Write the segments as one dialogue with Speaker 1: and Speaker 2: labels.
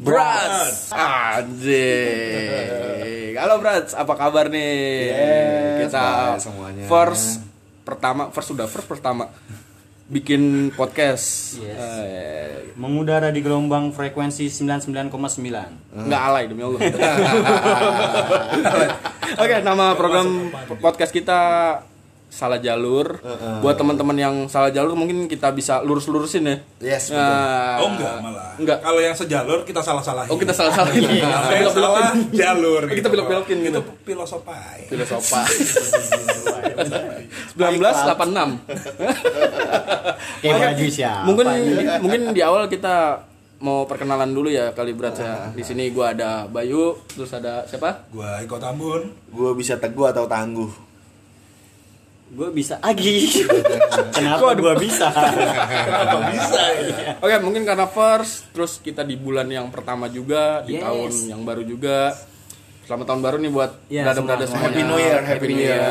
Speaker 1: Brats Anjing Halo Brats, apa kabar nih?
Speaker 2: Yes,
Speaker 1: Kita
Speaker 2: baik semuanya.
Speaker 1: first pertama, first sudah first pertama bikin podcast
Speaker 3: Yes.
Speaker 1: Eh,
Speaker 3: Mengudara di gelombang frekuensi 99,9.
Speaker 1: nggak alay demi Allah. Oke, nama program podcast kita salah jalur. Buat teman-teman yang salah jalur mungkin kita bisa lurus-lurusin ya.
Speaker 2: Yes,
Speaker 1: Nah,
Speaker 4: Oh enggak malah.
Speaker 1: Enggak.
Speaker 4: Kalau yang sejalur kita salah-salahin.
Speaker 1: Oh, kita salah-salahin.
Speaker 4: Kalau yang
Speaker 1: Belok-belokin.
Speaker 4: salah jalur.
Speaker 1: Kita belok-belokin gitu.
Speaker 4: Itu filosofai.
Speaker 1: Filosofa 1986.
Speaker 3: Kayak baju siapa?
Speaker 1: mungkin mungkin di awal kita mau perkenalan dulu ya kali berat saya. Di sini gua ada Bayu, terus ada siapa?
Speaker 4: Gua Iko Tambun.
Speaker 2: Gue bisa teguh atau tangguh.
Speaker 3: Gue bisa lagi. Kenapa gue bisa?
Speaker 4: Kok bisa ya?
Speaker 1: Oke, mungkin karena first, terus kita di bulan yang pertama juga, di
Speaker 3: Yes.
Speaker 1: tahun yang baru juga. Selamat tahun baru nih buat
Speaker 3: Ya,
Speaker 1: berada-berada
Speaker 3: semua.
Speaker 1: semuanya.
Speaker 2: Happy New Year,
Speaker 1: Happy
Speaker 2: Happy
Speaker 1: New Year.
Speaker 2: New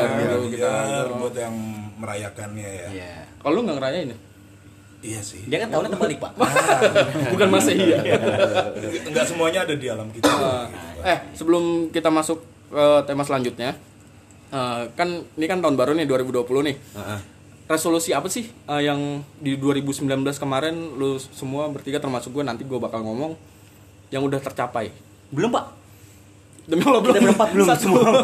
Speaker 1: gitu,
Speaker 2: Year.
Speaker 4: Nah, Biar
Speaker 1: kita.
Speaker 4: buat yang merayakannya ya.
Speaker 3: Iya.
Speaker 1: Kalau lu nggak ngerayain ya?
Speaker 4: Iya sih.
Speaker 3: Dia kan tahunnya terbalik pak.
Speaker 1: Bukan masih iya.
Speaker 4: Enggak semuanya ada di alam kita.
Speaker 1: eh, sebelum kita masuk ke tema selanjutnya, eh, kan ini kan tahun baru nih 2020 nih. Resolusi apa sih eh, yang di 2019 kemarin lu semua bertiga termasuk gue nanti gue bakal ngomong yang udah tercapai.
Speaker 3: Belum pak.
Speaker 1: Demi Allah belum.
Speaker 3: Kita berempat belum
Speaker 1: Satu.
Speaker 3: semua.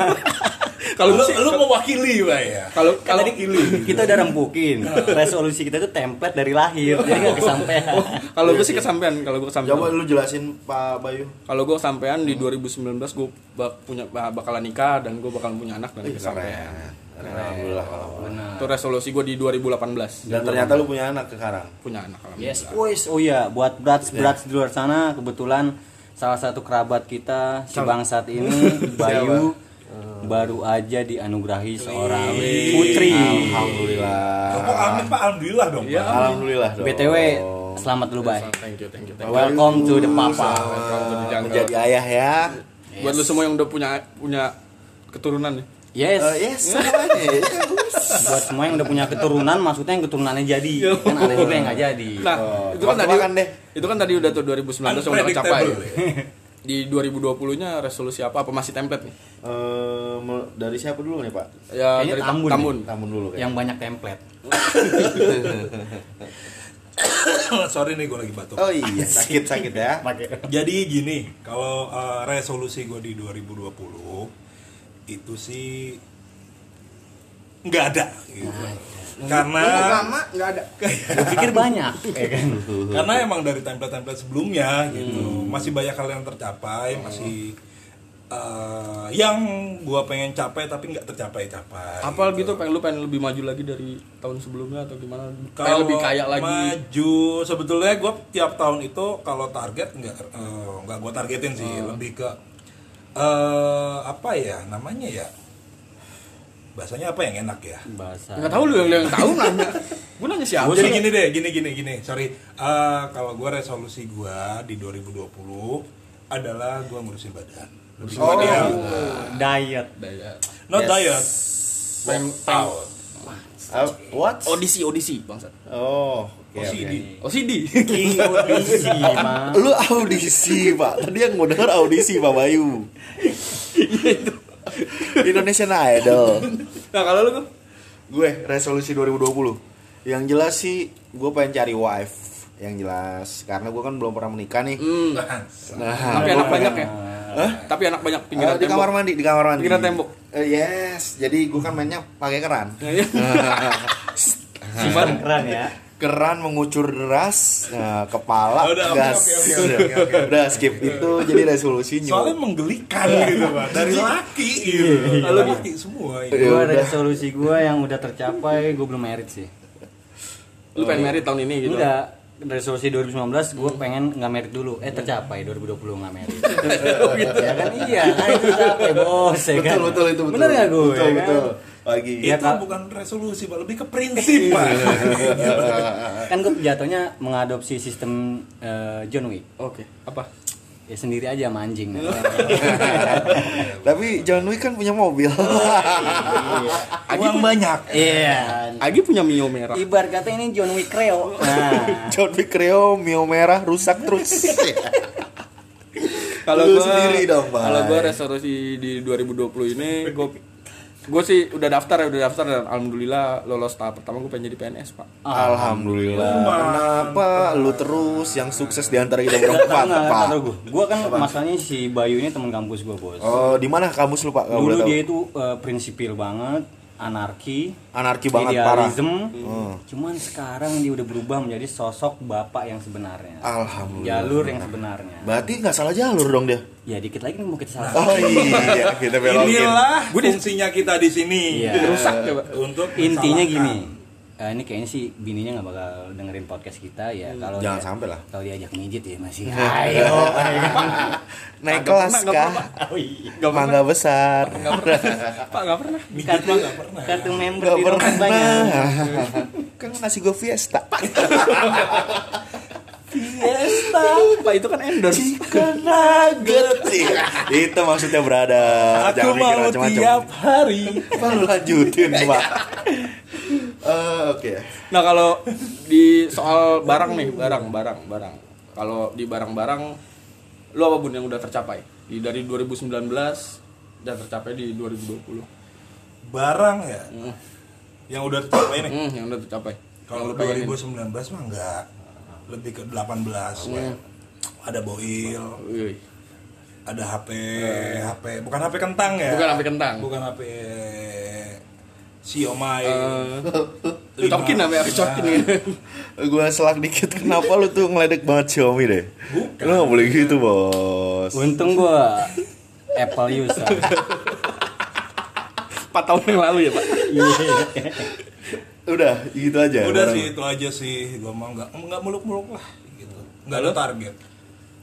Speaker 1: Kalau
Speaker 4: lu
Speaker 1: gue sih
Speaker 4: lu mewakili Pak ya.
Speaker 1: kalau kalau
Speaker 3: Kalau tadi kita udah rembukin resolusi kita itu template dari lahir, jadi nggak kesampaian.
Speaker 1: kalau gue sih kesampean, kalau gue kesampean.
Speaker 2: Coba lu jelasin Pak Bayu.
Speaker 1: Kalau gue kesampean di 2019 gue bak- punya bakalan nikah dan gue bakalan punya anak dan kesampean.
Speaker 2: Alhamdulillah kalau
Speaker 1: Itu resolusi gue di 2018
Speaker 2: Dan ternyata lu punya anak sekarang.
Speaker 1: punya anak. alhamdulillah.
Speaker 3: Yes, boys. Oh iya, buat brats brats di luar sana kebetulan salah satu kerabat kita si bangsat ini Bayu baru aja dianugerahi seorang putri.
Speaker 2: Alhamdulillah.
Speaker 4: Kamu amin Pak alhamdulillah dong
Speaker 1: Iya,
Speaker 4: Pak.
Speaker 2: Alhamdulillah dong. Eh,
Speaker 3: BTW, selamat lu Bay.
Speaker 1: Thank you, thank you. Thank you.
Speaker 3: Welcome to the papa.
Speaker 1: Welcome to the jungle.
Speaker 2: menjadi ayah ya.
Speaker 1: Buat lu semua yang udah punya punya keturunan nih.
Speaker 3: Yes.
Speaker 2: Eh, yes, semuanya. Ya,
Speaker 3: Buat semua yang udah punya keturunan, maksudnya yang keturunannya jadi. Kan ada juga yang nggak jadi.
Speaker 1: Nah,
Speaker 2: Oh,
Speaker 1: itu kan tadi
Speaker 2: tebak-tebakan deh.
Speaker 1: Itu kan tadi udah tuh 2019 yang udah tercapai.
Speaker 4: Unpredictable. ya.
Speaker 1: Di 2020-nya resolusi apa? Apa masih template nih?
Speaker 2: Eh, mul- dari siapa dulu nih Pak?
Speaker 1: Ya
Speaker 3: Kayaknya
Speaker 1: dari Ta-
Speaker 3: Tambun
Speaker 1: Tambun.
Speaker 2: Tamun dulu
Speaker 3: Yang
Speaker 2: kayaknya.
Speaker 3: banyak template.
Speaker 4: ya. Sorry nih gua lagi batuk.
Speaker 2: Oh iya, sakit-sakit ya.
Speaker 4: Jadi gini, kalau eh, resolusi gue di 2020 itu sih nggak ada gitu. Karena
Speaker 2: nggak ada.
Speaker 3: Gue pikir banyak. ya kan?
Speaker 4: karena emang dari template-template sebelumnya gitu. Masih banyak hal yang tercapai, masih eh, yang gua pengen capai tapi nggak tercapai-capai.
Speaker 1: Apa gitu pengen lu pengen lebih maju lagi dari tahun sebelumnya atau gimana? pengen
Speaker 4: Kalau
Speaker 1: lebih kaya lagi.
Speaker 4: maju sebetulnya gue tiap tahun itu kalau target nggak eh, nggak gue targetin sih lebih ke eh apa ya namanya ya bahasanya apa yang enak ya
Speaker 3: Bahasa.
Speaker 1: Enggak tahu lu yang, lu yang tahu nanya. Gua nanya siapa?
Speaker 4: jadi gini deh gini gini gini sorry Eh, kalau gue resolusi gue di 2020 adalah gue ngurusin badan ngurusin badan
Speaker 3: Diet.
Speaker 1: Daya.
Speaker 4: not
Speaker 3: Yes.
Speaker 4: diet
Speaker 1: Pengen-
Speaker 4: workout
Speaker 2: Eh, What?
Speaker 1: Audisi audisi bangsat.
Speaker 2: Oh, oke.
Speaker 4: OCD.
Speaker 2: oke.
Speaker 1: OCD.
Speaker 4: Iya,
Speaker 3: Audisi, Ma.
Speaker 2: Lu audisi pak Tadi yang gue denger audisi Pak Bayu
Speaker 4: Iya,
Speaker 2: Indonesian Idol
Speaker 1: nah, kalau lu tuh
Speaker 2: Gue resolusi 2020 Yang jelas sih Gue pengen cari wife Yang jelas Karena gue kan belum pernah menikah nih Nah
Speaker 1: tapi
Speaker 2: gua
Speaker 1: anak
Speaker 2: pengen-
Speaker 1: banyak ya. Tapi anak banyak pinggiran
Speaker 2: Eh, di kamar mandi di kamar mandi
Speaker 1: Pinggiran tembok.
Speaker 2: Eh, yes jadi gue kan mainnya pakai keran
Speaker 4: Nah, iya.
Speaker 1: Gimana?
Speaker 3: Keren ya.
Speaker 2: keran mengucur deras nah, kepala
Speaker 4: Oh, udah, oke,
Speaker 2: gas
Speaker 4: oke, oke, oke, oke.
Speaker 2: udah skip itu jadi resolusinya
Speaker 4: soalnya menggelikan gitu pak dari laki gitu dari laki semua
Speaker 3: Gue
Speaker 4: itu.
Speaker 2: Iya, udah.
Speaker 3: resolusi gue yang udah tercapai, gue belum merit sih.
Speaker 1: Lu pengen married tahun ini gitu.
Speaker 3: Enggak. Resolusi 2019 gue pengen nggak merit dulu. Eh tercapai 2020 nggak merit. ya kan iya, kan itu tercapai bos. Ya
Speaker 2: Gitu.
Speaker 3: kan?
Speaker 2: betul betul itu betul
Speaker 3: Bener nggak
Speaker 4: Iya
Speaker 3: gue?
Speaker 2: betul
Speaker 3: ya kan?
Speaker 2: betul lagi
Speaker 3: Iya,
Speaker 4: itu
Speaker 3: Kak.
Speaker 4: bukan resolusi pak lebih ke prinsip pak
Speaker 3: kan gue jatuhnya mengadopsi sistem eh, John Wick
Speaker 1: Oke, apa?
Speaker 3: ya sendiri aja sama anjing
Speaker 2: Tapi John Wick kan punya mobil.
Speaker 4: Uang banyak.
Speaker 3: iya
Speaker 1: Agi punya Mio merah.
Speaker 3: ibar kata ini John Wick Creo nah
Speaker 2: John Wick Creo, Mio merah rusak terus.
Speaker 1: Kalau
Speaker 2: Lu
Speaker 1: gua
Speaker 2: sendiri dong, Bay.
Speaker 1: Kalau gua resolusi di 2020 ini gua gua sih udah daftar ya, udah daftar dan alhamdulillah lolos tahap pertama gua pengen jadi PNS, Pak.
Speaker 2: Ah. Alhamdulillah. Kenapa lu terus yang sukses di antara kita berempat, Pak?
Speaker 3: Taruh gua. Gua kan masalahnya si Bayu ini teman kampus gua bos
Speaker 2: Oh, di mana kamus lu, Pak? Kalau boleh
Speaker 3: dulu
Speaker 2: tahu.
Speaker 3: dia itu eh, prinsipil banget anarki
Speaker 2: Anarki banget parah. Hmm.
Speaker 3: idealism. cuman sekarang dia udah berubah menjadi sosok bapak yang sebenarnya
Speaker 2: Alhamdulillah.
Speaker 3: jalur yang sebenarnya
Speaker 2: Berarti nggak salah jalur dong dia.
Speaker 3: ya dikit lagi nih mau kita salah
Speaker 2: Oh iya, kita belokin.
Speaker 4: Inilah fungsinya kita di sini.
Speaker 3: Iya.
Speaker 1: Rusak coba.
Speaker 4: Untuk
Speaker 3: intinya gini
Speaker 4: mensalahkan.
Speaker 3: eh, ini kayaknya sih bininya nggak bakal dengerin podcast kita ya kalau
Speaker 2: Hmm. Jangan
Speaker 3: dia-
Speaker 2: sampai lah.
Speaker 3: kalau diajak mijit ya masih ayo
Speaker 2: Naik kelas
Speaker 1: pernah,
Speaker 2: Oh, iya.
Speaker 1: nggak
Speaker 2: kah?
Speaker 1: Nggak
Speaker 2: Mangga besar.
Speaker 1: Pak enggak pernah.
Speaker 4: Mijit
Speaker 3: kartu
Speaker 4: mah nggak pernah.
Speaker 3: kartu member
Speaker 2: Gak
Speaker 3: di dompet
Speaker 2: pernah.
Speaker 3: banyak
Speaker 2: kan ngasih gue fiesta.
Speaker 1: Fiesta. Pak itu kan endorse.
Speaker 2: Chicken nugget. Itu maksudnya berada.
Speaker 4: Aku mau tiap hari.
Speaker 2: Apa lu lanjutin, Pak?
Speaker 4: Iya.
Speaker 2: Eh, Oke.
Speaker 1: Nah kalau di soal barang nih, barang, barang, barang. Kalau di barang-barang, lu apa bun yang udah tercapai? Di dari 2019 dan tercapai di 2020.
Speaker 4: Barang ya. Yang udah tercapai
Speaker 2: Eh.
Speaker 4: nih.
Speaker 1: Hmm, yang udah tercapai. Yang lu
Speaker 4: Kalau
Speaker 1: pengenin.
Speaker 4: 2019 mah enggak. Lebih ke 18. kayak Ada boil,
Speaker 1: Wih,
Speaker 4: ada HP, HP bukan HP kentang ya.
Speaker 1: Bukan HP kentang.
Speaker 4: Mm. Bukan HP Xiaomi.
Speaker 1: Lu cokin Eh, namanya, aku cokin gitu.
Speaker 2: Gua selak dikit kenapa lu tuh ngeledek banget Xiaomi deh? Lu gak boleh gitu, Bos.
Speaker 3: untung gua Apple user
Speaker 1: 4 tahun yang lalu ya pak?
Speaker 2: Udah, gitu aja.
Speaker 4: Udah
Speaker 2: Barang.
Speaker 4: sih itu aja sih. Gua mau enggak enggak muluk-muluk lah gitu. Enggak ada target.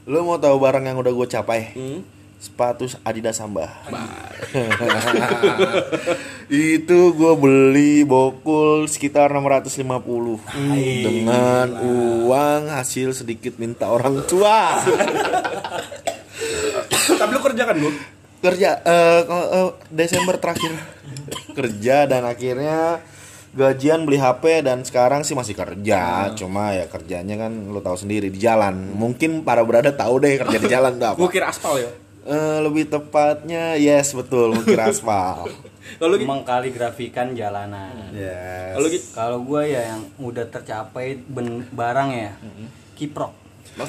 Speaker 2: Lu mau tahu barang yang udah gue capai?
Speaker 4: Hmm?
Speaker 2: Sepatu Adidas Samba. itu gue beli bokul sekitar 650 dengan uang hasil sedikit minta orang tua.
Speaker 1: Tapi lu kerja kan bu?
Speaker 2: kerja eh, ke- eh, Desember terakhir kerja dan akhirnya gajian beli HP dan sekarang sih masih kerja cuma ya kerjanya kan lu tahu sendiri di jalan mungkin para berada tahu deh kerja di jalan tuh apa
Speaker 1: Gua kira aspal ya.
Speaker 2: Eh, lebih tepatnya yes betul mungkin aspal
Speaker 1: Lalu
Speaker 3: mengkaligrafikan jalanan
Speaker 2: yes
Speaker 1: Lalu gitu.
Speaker 3: Kalau gue ya yang udah tercapai ben- barang ya, kiprok.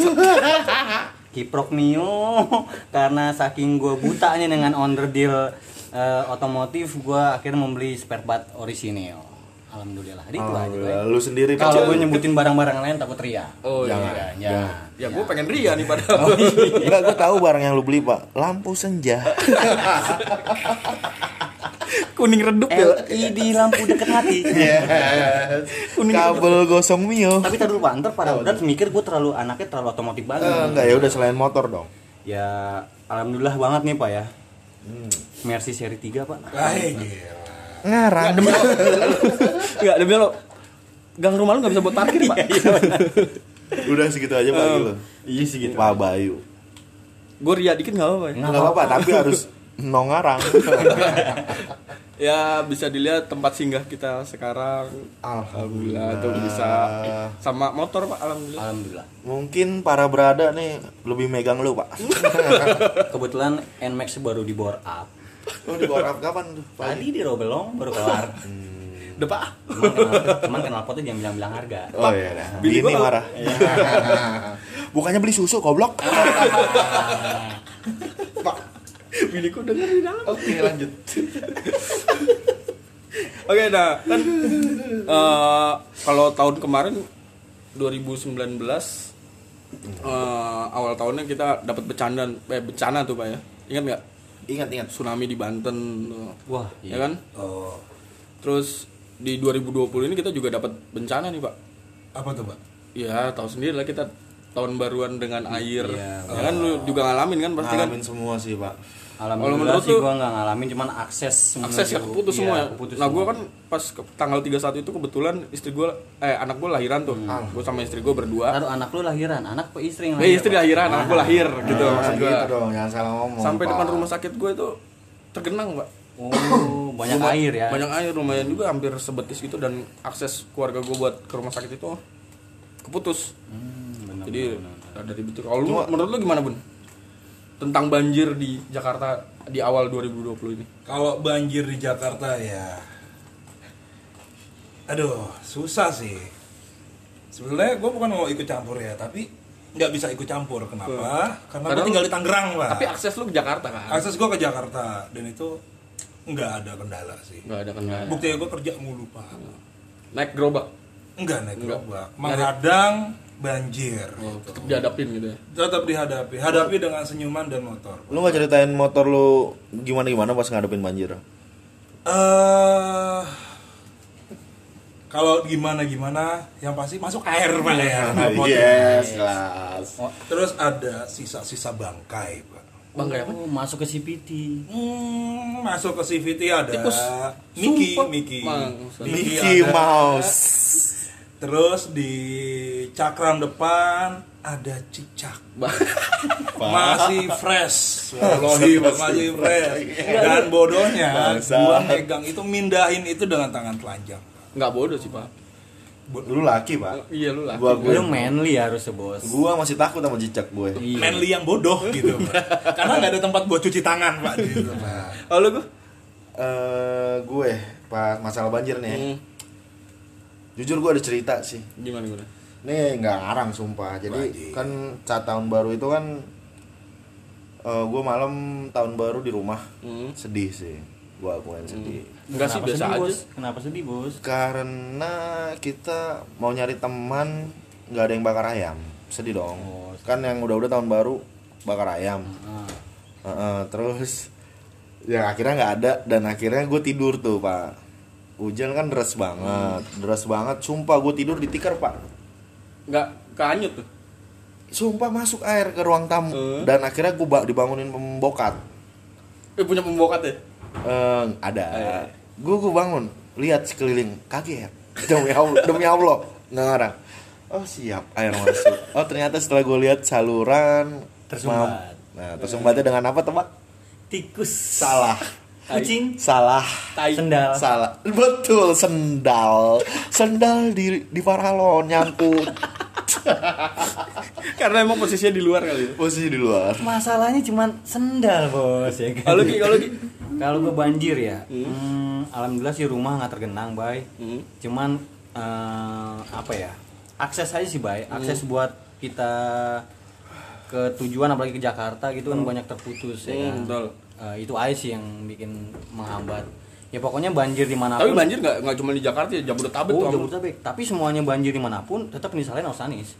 Speaker 3: kiprok Mio karena saking gue butanya dengan onderdil eh, otomotif gue akhirnya membeli spare part orisinil alhamdulillah itu aja gue
Speaker 2: Oh, lu sendiri
Speaker 3: kalau
Speaker 2: Pak.
Speaker 3: gue nyebutin barang-barang lain takut ria
Speaker 1: Oh iya.
Speaker 3: jangan jangan
Speaker 1: Ya gua pengen ria nih padahal.
Speaker 2: Enggak, gue tahu barang yang lu beli pak Lampu senja
Speaker 1: Kuning redup ya.
Speaker 3: LED E lampu deket hati
Speaker 2: Iya. Kabel gosong Mio
Speaker 3: tapi tadi lupa ntar pada udah mikir gue terlalu anaknya terlalu otomotif banget
Speaker 2: Eh, Enggak ya udah selain motor dong
Speaker 3: ya alhamdulillah banget nih pak ya
Speaker 2: Hmm.
Speaker 3: Mercy seri 3 pak
Speaker 4: Kayak gila.
Speaker 2: Ngarang
Speaker 1: Enggak, demi lo. Gang rumah lu nggak bisa buat parkir pak.
Speaker 2: Udah segitu aja Pak Gil.
Speaker 3: Iya sih gitu.
Speaker 2: Pak Bayu
Speaker 1: Gua ria dikit nggak apa-apa ya.
Speaker 2: Nggak apa-apa, tapi harus nongarang.
Speaker 1: ya bisa dilihat tempat singgah kita sekarang alhamdulillah tuh bisa sama motor pak alhamdulillah
Speaker 3: Alhamdulillah.
Speaker 2: Mungkin para berada nih lebih megang lu, Pak.
Speaker 3: Kebetulan Nmax baru di bore up.
Speaker 2: Lu Oh, di bore up kapan tuh? Pak?
Speaker 1: iya.
Speaker 3: Tadi di Robelong baru kelar.
Speaker 1: udah pak
Speaker 3: Cuman kenal, cuman kenalpotnya jangan bilang-bilang harga.
Speaker 2: Oh iya, dah.
Speaker 1: Bini
Speaker 2: Bini
Speaker 1: gua-
Speaker 2: marah. Bukannya beli susu goblok.
Speaker 1: biniku denger di dalam
Speaker 2: Oke, lanjut.
Speaker 1: oke nah kan eh, kalau tahun kemarin 2019 eh, awal tahunnya kita dapat becandan eh bencana tuh pak ya ingat nggak
Speaker 2: Ingat, ingat.
Speaker 1: tsunami di Banten tuh.
Speaker 3: Wah, iya.
Speaker 1: ya kan
Speaker 4: Oh.
Speaker 1: terus di 2020 ini kita juga dapat bencana nih pak
Speaker 4: Apa tuh, Pak?
Speaker 1: ya tahu sendiri lah kita tahun baruan dengan air
Speaker 3: Iya,
Speaker 1: ya kan lu juga ngalamin kan pasti kan
Speaker 2: Ngalamin semua sih, Pak.
Speaker 1: Kalau
Speaker 3: Alhamdulillah
Speaker 1: menurut
Speaker 3: sih
Speaker 1: lu-
Speaker 3: gua nggak ngalamin cuman akses
Speaker 1: akses ya
Speaker 3: menuju-
Speaker 1: keputus
Speaker 3: iya,
Speaker 1: semua ya.
Speaker 3: keputus
Speaker 1: nah gue
Speaker 3: semua.
Speaker 1: kan pas ke, tanggal 31 itu kebetulan istri gue eh anak gue lahiran tuh. Gue sama istri gue berdua.
Speaker 3: Taruh anak lu lahiran, anak apa istri yang
Speaker 1: Eh kan- istri lahiran, anak gue lahir gitu maksud
Speaker 2: Nah,
Speaker 1: gue.
Speaker 2: gitu dong, jangan salah ngomong.
Speaker 1: Sampai
Speaker 2: Pak.
Speaker 1: depan rumah sakit gue itu tergenang, Pak.
Speaker 3: Oh, banyak
Speaker 1: Rumah-
Speaker 3: air ya.
Speaker 1: Banyak air lumayan juga hampir sebetis gitu dan akses keluarga gue buat ke rumah sakit itu keputus.
Speaker 3: Hmm,
Speaker 1: Jadi dari betul. Kalau lu, menurut lu gimana bun? Tentang banjir di Jakarta di awal 2020 ini.
Speaker 4: Kalau banjir di Jakarta ya, aduh susah sih. Sebenarnya gue bukan mau ikut campur ya, tapi nggak bisa ikut campur. Kenapa? Karena gue
Speaker 1: Karena
Speaker 4: tinggal
Speaker 1: lu-
Speaker 4: di Tangerang pak.
Speaker 1: Hmm. Tapi akses lu ke Jakarta kan?
Speaker 4: Akses gue ke Jakarta dan itu nggak ada kendala sih.
Speaker 1: Gak ada kendala.
Speaker 4: Buktinya gue kerja mulu pak.
Speaker 1: Naik gerobak.
Speaker 4: Enggak naik
Speaker 1: Nggak.
Speaker 4: gerobak. Menghadang banjir.
Speaker 1: tetap dihadapin gitu ya.
Speaker 4: Tetap dihadapi. Hadapi dengan senyuman dan motor.
Speaker 2: Lu nggak ceritain motor lu gimana gimana pas ngadepin banjir?
Speaker 4: eh kalau gimana gimana yang pasti masuk air pak ya Rapot.
Speaker 2: Iya, kelas.
Speaker 4: terus ada sisa-sisa bangkai pak
Speaker 1: Bangkai ya, apa?
Speaker 3: Oh, masuk ke CPT.
Speaker 4: Hmm, masuk ke CVT ada
Speaker 1: Tikus.
Speaker 4: Mickey,
Speaker 1: Sumpah.
Speaker 4: Mickey.
Speaker 1: Mangsat.
Speaker 2: Mickey
Speaker 4: ada.
Speaker 2: Mouse.
Speaker 4: Terus di cakram depan ada cicak. masih fresh Wallahi, masih fresh dan bodohnya
Speaker 2: Bangsat.
Speaker 4: gua megang itu mindahin itu dengan tangan telanjang
Speaker 1: Enggak bodoh sih, Pak.
Speaker 2: Lu laki pak?
Speaker 1: Iya lu lah.
Speaker 2: Gua
Speaker 3: Lu
Speaker 2: gue.
Speaker 3: manly harusnya, Bos.
Speaker 2: Gua masih takut sama cicak gue.
Speaker 3: Iya.
Speaker 4: manly yang bodoh gitu Pak. karena nggak ada tempat buat cuci tangan pak Gitu. di situ, Iya, Pak.
Speaker 1: Halo gua.
Speaker 2: Eh gue pas masalah banjir nih.
Speaker 1: Hmm,
Speaker 2: Jujur gue ada cerita sih.
Speaker 1: gimana gimana?
Speaker 2: Ini nggak ngarang sumpah. Jadi
Speaker 4: Wajib.
Speaker 2: kan saat tahun baru itu kan eh gue malam tahun baru di rumah
Speaker 1: Hmm.
Speaker 2: sedih sih. Gue akuin sedih.
Speaker 1: Enggak sih
Speaker 3: Kenapa
Speaker 1: biasa
Speaker 3: sedih,
Speaker 1: aja.
Speaker 3: Bos? Kenapa sedih, Bos?
Speaker 2: Karena kita mau nyari teman nggak ada yang bakar ayam. Sedih dong.
Speaker 3: Oh,
Speaker 2: kan yang udah-udah tahun baru bakar ayam.
Speaker 3: Ah.
Speaker 2: Heeh, terus ya akhirnya nggak ada dan akhirnya gue tidur tuh pak hujan kan deras banget deras banget sumpah gue tidur di tikar pak
Speaker 1: Enggak keanyut tuh.
Speaker 2: sumpah masuk air ke ruang tamu
Speaker 1: Eh.
Speaker 2: dan akhirnya gue dibangunin pembokat
Speaker 1: Eh punya pembokat ya?
Speaker 2: Eh, ada gue gue bangun lihat sekeliling kaget demi allah demi allah nggak ngarang oh siap air masuk oh ternyata setelah gue lihat saluran
Speaker 3: Tersumbat.
Speaker 2: mam- nah tersumbatnya dengan apa tebak
Speaker 3: Tikus.
Speaker 2: salah
Speaker 3: Kucing.
Speaker 2: salah
Speaker 1: Tai.
Speaker 3: Sendal.
Speaker 2: Salah. Betul, sendal. Sendal di di paralon nyangkut.
Speaker 1: Karena emang posisinya di luar kali ya.
Speaker 2: Posisi di luar.
Speaker 3: Masalahnya cuman sendal, Bos, ya kan?
Speaker 1: Halo Ki, halo Ki.
Speaker 3: Kalau gue banjir ya, hmm, alhamdulillah sih rumah nggak tergenang, bay.
Speaker 1: Hmm.
Speaker 3: Cuman eh, apa ya? Akses aja sih, bay. Akses
Speaker 1: Hmm.
Speaker 3: buat kita ke tujuan apalagi ke Jakarta gitu kan banyak terputus ya.
Speaker 1: Hmm,
Speaker 3: kan?
Speaker 1: betul.
Speaker 3: Eh, itu aja sih yang bikin menghambat. Ya pokoknya banjir dimanapun.
Speaker 1: Tapi banjir nggak nggak cuma di Jakarta ya, Jabodetabek
Speaker 3: Oh,
Speaker 1: tuh. ampun.
Speaker 3: Jabodetabek. Tapi semuanya banjir dimanapun tetap misalnya Osanis.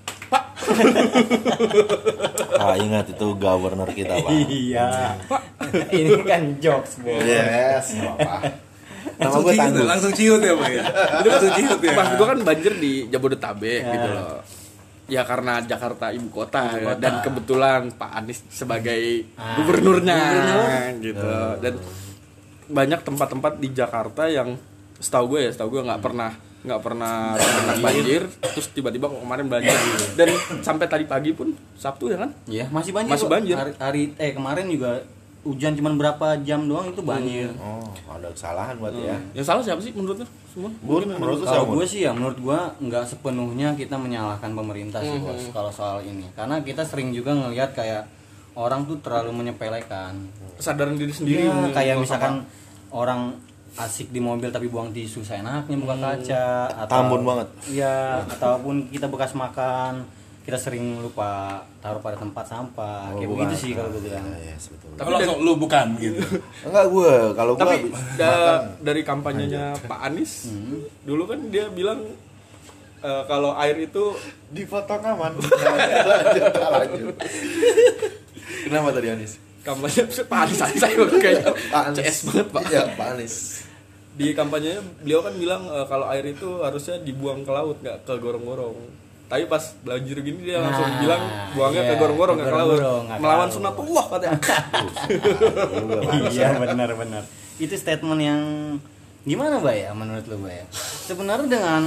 Speaker 2: Ah, ingat itu governor kita, Pak.
Speaker 3: Iya. Ini kan jokes, Bos.
Speaker 2: Yes, gitu kan? nggak apa. Nama
Speaker 4: Langsung
Speaker 2: gue
Speaker 4: ciut,
Speaker 2: tangguh.
Speaker 4: langsung ciut ya pak ya langsung ciut ya
Speaker 1: Pas gua kan banjir di Jabodetabek gitu loh. Ya karena Jakarta ibu kota, ya. dan kebetulan Pak Anies sebagai gubernurnya gitu. Dan banyak tempat-tempat di Jakarta yang setahu gue ya, setahu gue nggak pernah nggak pernah terkena banjir, Iya. terus tiba-tiba kok kemarin banjir. Dan sampai tadi pagi pun Sabtu ya kan?
Speaker 3: Iya, masih banjir.
Speaker 1: Masih
Speaker 3: kok.
Speaker 1: banjir.
Speaker 3: Hari, hari- eh kemarin juga hujan cuman berapa jam doang itu banjir.
Speaker 1: Iya.
Speaker 2: Oh, ada kesalahan buat ya.
Speaker 1: Yang salah siapa sih menurut lu semua?
Speaker 2: Bun, menurut lu
Speaker 3: Kalau
Speaker 2: siapa?
Speaker 3: gue sih ya menurut gue nggak sepenuhnya kita menyalahkan pemerintah sih bos kalau soal ini karena kita sering juga ngelihat kayak orang tuh terlalu menyepelekan.
Speaker 1: Kesadaran diri sendiri.
Speaker 3: Iya,
Speaker 1: mungkin.
Speaker 3: kayak misalkan orang asik di mobil tapi buang tisu seenaknya buka kaca atau
Speaker 2: Tambun banget.
Speaker 3: Iya, ataupun kita bekas makan kita sering lupa taruh pada tempat sampah.
Speaker 2: Oh,
Speaker 3: kayak begitu sih kalau gue bilang.
Speaker 2: Yes, betul.
Speaker 4: Tapi langsung lu bukan gitu
Speaker 2: Enggak gue, kalau gue
Speaker 1: Tapi
Speaker 2: habis-
Speaker 1: da- dari kampanyenya Pak Anies
Speaker 3: Hmm.
Speaker 1: dulu kan dia bilang eh, kalau air itu
Speaker 2: dipotong aman. Nah, lanjut, lanjut. Kenapa tadi Anis?
Speaker 1: kampanye Pak Anies Anies saya kok kayak CS banget Pak.
Speaker 2: Iya, Pak Anis.
Speaker 1: Di kampanyenya beliau kan bilang eh, kalau air itu harusnya dibuang ke laut nggak ke gorong-gorong. tapi pas banjir gini dia
Speaker 3: Nah,
Speaker 1: langsung bilang buangnya
Speaker 3: iya,
Speaker 1: ke gorong-gorong nggak kelaut
Speaker 3: gorong-gorong, nggak
Speaker 1: melawan
Speaker 3: kelaut.
Speaker 1: sunatullah katanya
Speaker 3: kan iya benar benar itu statement yang gimana mbak ya menurut lo mbak ya sebenarnya dengan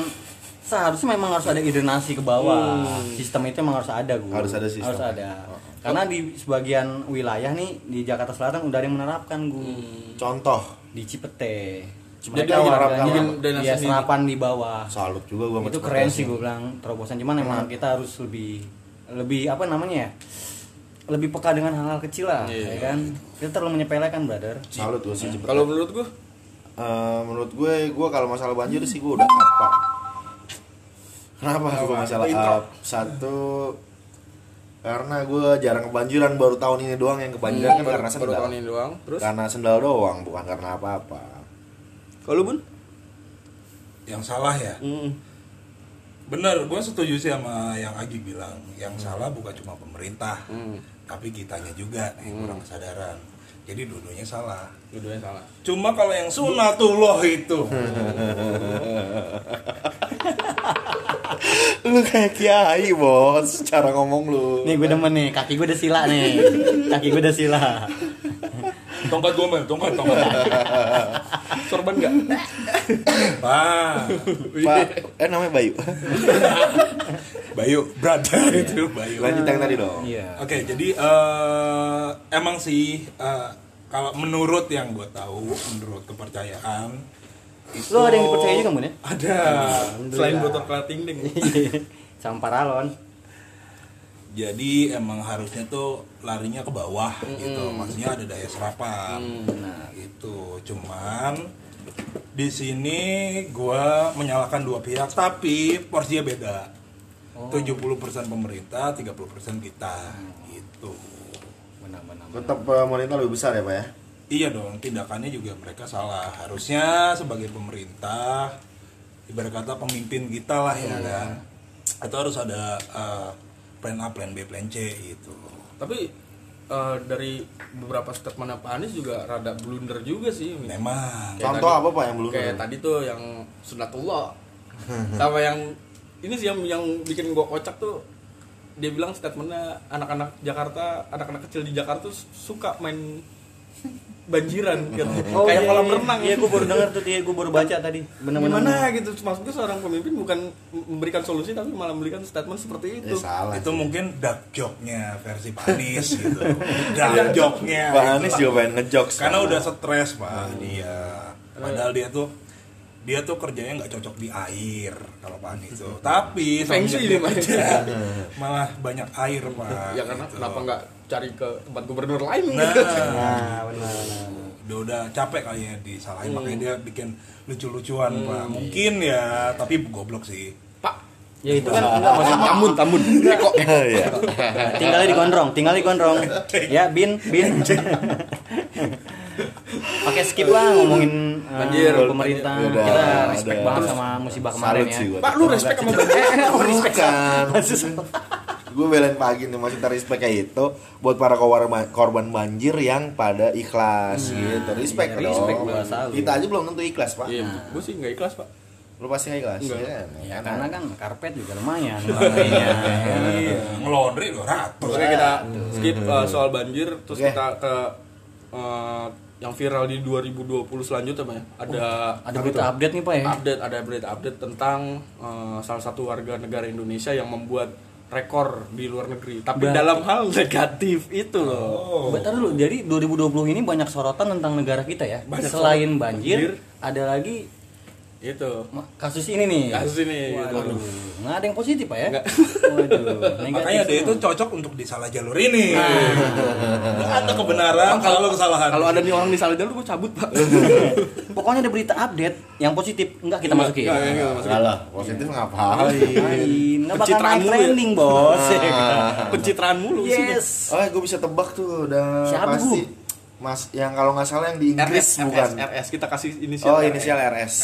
Speaker 3: seharusnya memang harus ada hidrenasi ke bawah sistem itu memang Hmm. harus ada Oh, gue
Speaker 2: Harus ada sistem.
Speaker 3: harus ada karena di sebagian wilayah nih di Jakarta Selatan udah ada yang menerapkan gue
Speaker 2: Contoh,
Speaker 3: di Hmm. Cipete
Speaker 1: Jadi
Speaker 3: mereka
Speaker 1: bikin-
Speaker 3: warganya
Speaker 1: bikin drainase
Speaker 3: ya
Speaker 1: sendiri.
Speaker 3: serapan di bawah
Speaker 2: salut juga gua sama
Speaker 3: itu
Speaker 2: Cepete
Speaker 3: keren sih gue bilang terobosan cuman emang kita harus lebih lebih apa namanya ya lebih peka dengan hal-hal kecil lah ya kan kita terlalu menyepelekan brother
Speaker 2: Salut gua sih Cepete.
Speaker 1: kalau menurut gua
Speaker 2: Eh, menurut gue, gue kalau masalah banjir sih gue udah up. Kenapa gue masalah up? Satu karena gue jarang kebanjiran baru tahun ini doang yang kebanjiran kan
Speaker 1: baru,
Speaker 2: karena
Speaker 1: baru
Speaker 2: sendal.
Speaker 1: tahun ini doang terus
Speaker 3: Kan.
Speaker 2: Karena sendal doang bukan karena apa-apa.
Speaker 1: kalau bun
Speaker 4: yang salah ya bener gue setuju sih sama yang Agi bilang yang salah bukan cuma pemerintah tapi kitanya juga nih kurang kesadaran jadi dulunya salah
Speaker 1: dua-duanya salah
Speaker 4: cuma kalau yang sunatullah itu
Speaker 2: lu kayak kiai bos, cara ngomong lu.
Speaker 3: nih gue demen nih kaki gue udah sila nih kaki gue udah sila
Speaker 4: tongkat gomel tongkat tongkat
Speaker 1: sorban nggak
Speaker 4: Pak
Speaker 2: Pak, eh namanya Bayu.
Speaker 4: Bayu Iya. brother itu Bayu
Speaker 2: Lanjut yang tadi dong.
Speaker 3: iya
Speaker 4: Oke, jadi eh, emang sih eh, kalau menurut yang gue tahu, menurut kepercayaan, itu
Speaker 3: Lo ada yang dipercaya juga, Mun, ya?
Speaker 4: Ada.
Speaker 1: selain botol kelating ding
Speaker 3: sama paralon
Speaker 4: Jadi emang harusnya tuh larinya ke bawah gitu, maksudnya ada daya serapan.
Speaker 3: Mm,
Speaker 4: Nah, itu cuman di sini gue menyalahkan dua pihak, tapi porsinya beda.
Speaker 3: Oh.
Speaker 4: 70% pemerintah, 30% kita
Speaker 3: Mm.
Speaker 4: gitu.
Speaker 3: benar-benar
Speaker 2: Tetap pemerintah lebih besar ya pak ya.
Speaker 4: Iya dong, tindakannya juga mereka salah. Harusnya sebagai pemerintah, ibarat kata pemimpin kita lah
Speaker 2: Iya.
Speaker 4: ya kan, atau harus ada eh, plan A, plan B, plan C gitu.
Speaker 1: tapi eh, dari beberapa statementnya Pak Anies juga rada blunder juga sih
Speaker 4: Memang.
Speaker 1: Kayak
Speaker 2: Contoh
Speaker 1: tadi-
Speaker 2: apa pak yang belum?
Speaker 1: kayak tadi tuh yang sunatullah sama yang ini sih yang yang bikin gua kocak tuh dia bilang statementnya anak-anak Jakarta anak-anak kecil di Jakarta tuh suka main banjiran gitu. kayak kolam renang
Speaker 3: Oh, iya gue baru dengar tuh dia gue baru baca tadi benar-benar
Speaker 1: gimana gitu maksudnya seorang pemimpin bukan memberikan solusi tapi malah memberikan statement seperti
Speaker 2: Eh,
Speaker 1: itu
Speaker 3: Ya,
Speaker 2: salah.
Speaker 4: itu mungkin dark joke-nya versi Pak Anies gitu. dark joke-nya.
Speaker 2: Iya.
Speaker 4: gitu.
Speaker 2: Pak Anies juga Hmm. pengen ngejokes.
Speaker 4: Karena udah stres pak dia.
Speaker 1: Iya.
Speaker 4: Padahal dia tuh dia tuh kerjanya nggak cocok di air kalau Pak Anies tuh. Tapi
Speaker 1: Feng
Speaker 4: semenjak
Speaker 1: shui
Speaker 4: dia
Speaker 1: dia, Pak.
Speaker 4: kerja,
Speaker 2: Hmm.
Speaker 4: malah banyak air pak.
Speaker 1: ya karena
Speaker 4: gitu.
Speaker 1: kenapa nggak cari ke tempat gubernur lain
Speaker 4: Nah,
Speaker 1: gitu
Speaker 3: nah benar-benar
Speaker 4: dia udah capek kali ya disalahin makanya dia bikin lucu-lucuan pak. Mungkin ya, tapi goblok sih.
Speaker 1: pak
Speaker 3: ya itu kan enggak maksud
Speaker 1: tamun tamun kok
Speaker 2: Iya.
Speaker 3: tinggalnya di gondrong tinggalnya di gondrong ya bin bin pakai skip lah ngomongin eh,
Speaker 1: Banjir.
Speaker 3: pemerintah
Speaker 2: Ya Udah,
Speaker 3: kita
Speaker 2: udah.
Speaker 3: respect banget sama musibah kemarin
Speaker 2: Salut
Speaker 3: ya
Speaker 2: sih gua.
Speaker 1: pak lu respect sama banjir
Speaker 2: Bukan. gue belain pagi nih masih respect kayak itu buat para korban korban banjir yang pada ikhlas gitu respect
Speaker 3: iya,
Speaker 2: dong
Speaker 3: respect, gua salut.
Speaker 2: kita aja belum tentu ikhlas pak
Speaker 1: iya gue sih nggak ikhlas pak
Speaker 2: lu pasti nggak ikhlas
Speaker 1: Enggak.
Speaker 2: Iya,
Speaker 3: ya
Speaker 2: kan?
Speaker 3: karena kan karpet juga lumayan warnanya.
Speaker 4: Iya, ngelondri loh ratus.
Speaker 1: Oke kita skip uh, soal banjir terus
Speaker 2: Oke.
Speaker 1: kita ke uh, yang viral di 2020 selanjutnya Pak, ya. Ada
Speaker 3: ada berita update nih pak ya
Speaker 1: update ada update update tentang uh, salah satu warga negara Indonesia yang membuat rekor di luar negeri tapi dalam hal negatif itu loh.
Speaker 4: Oh.
Speaker 3: Bentar dulu, jadi 2020 ini banyak sorotan tentang negara kita ya.
Speaker 1: Banyak
Speaker 3: Selain
Speaker 1: sorotan.
Speaker 3: banjir,
Speaker 1: Banjir.
Speaker 3: ada lagi
Speaker 1: Itu.
Speaker 3: ma- kasus ini nih.
Speaker 1: Kasus ini.
Speaker 3: Waduh, nggak ada yang positif pak ya?
Speaker 1: Nggak.
Speaker 3: Waduh,
Speaker 4: Makanya dia itu
Speaker 3: semua.
Speaker 4: cocok untuk di salah jalur ini. Nggak ada kebenaran kalau kesalahan.
Speaker 1: Kalau ada nih orang di salah jalur gue cabut, Pak.
Speaker 3: Pokoknya ada berita update yang positif nggak kita masukin.
Speaker 1: Nggak, nggak, nggak,
Speaker 2: Enggak lah positif ngapain
Speaker 3: Lain, nggak bakal
Speaker 1: Pencitraan
Speaker 3: naik
Speaker 1: mulu ya. Ah.
Speaker 3: trending bos. ya kan?
Speaker 1: Pencitraan mulu sih.
Speaker 3: yes.
Speaker 2: oh gue bisa tebak tuh udah
Speaker 3: Siapa,
Speaker 2: pasti
Speaker 3: Bu?
Speaker 2: mas yang kalau nggak salah yang di Inggris
Speaker 1: RS
Speaker 2: bukan
Speaker 1: RS, RS kita kasih inisial.
Speaker 2: oh
Speaker 1: RS.
Speaker 2: inisial RS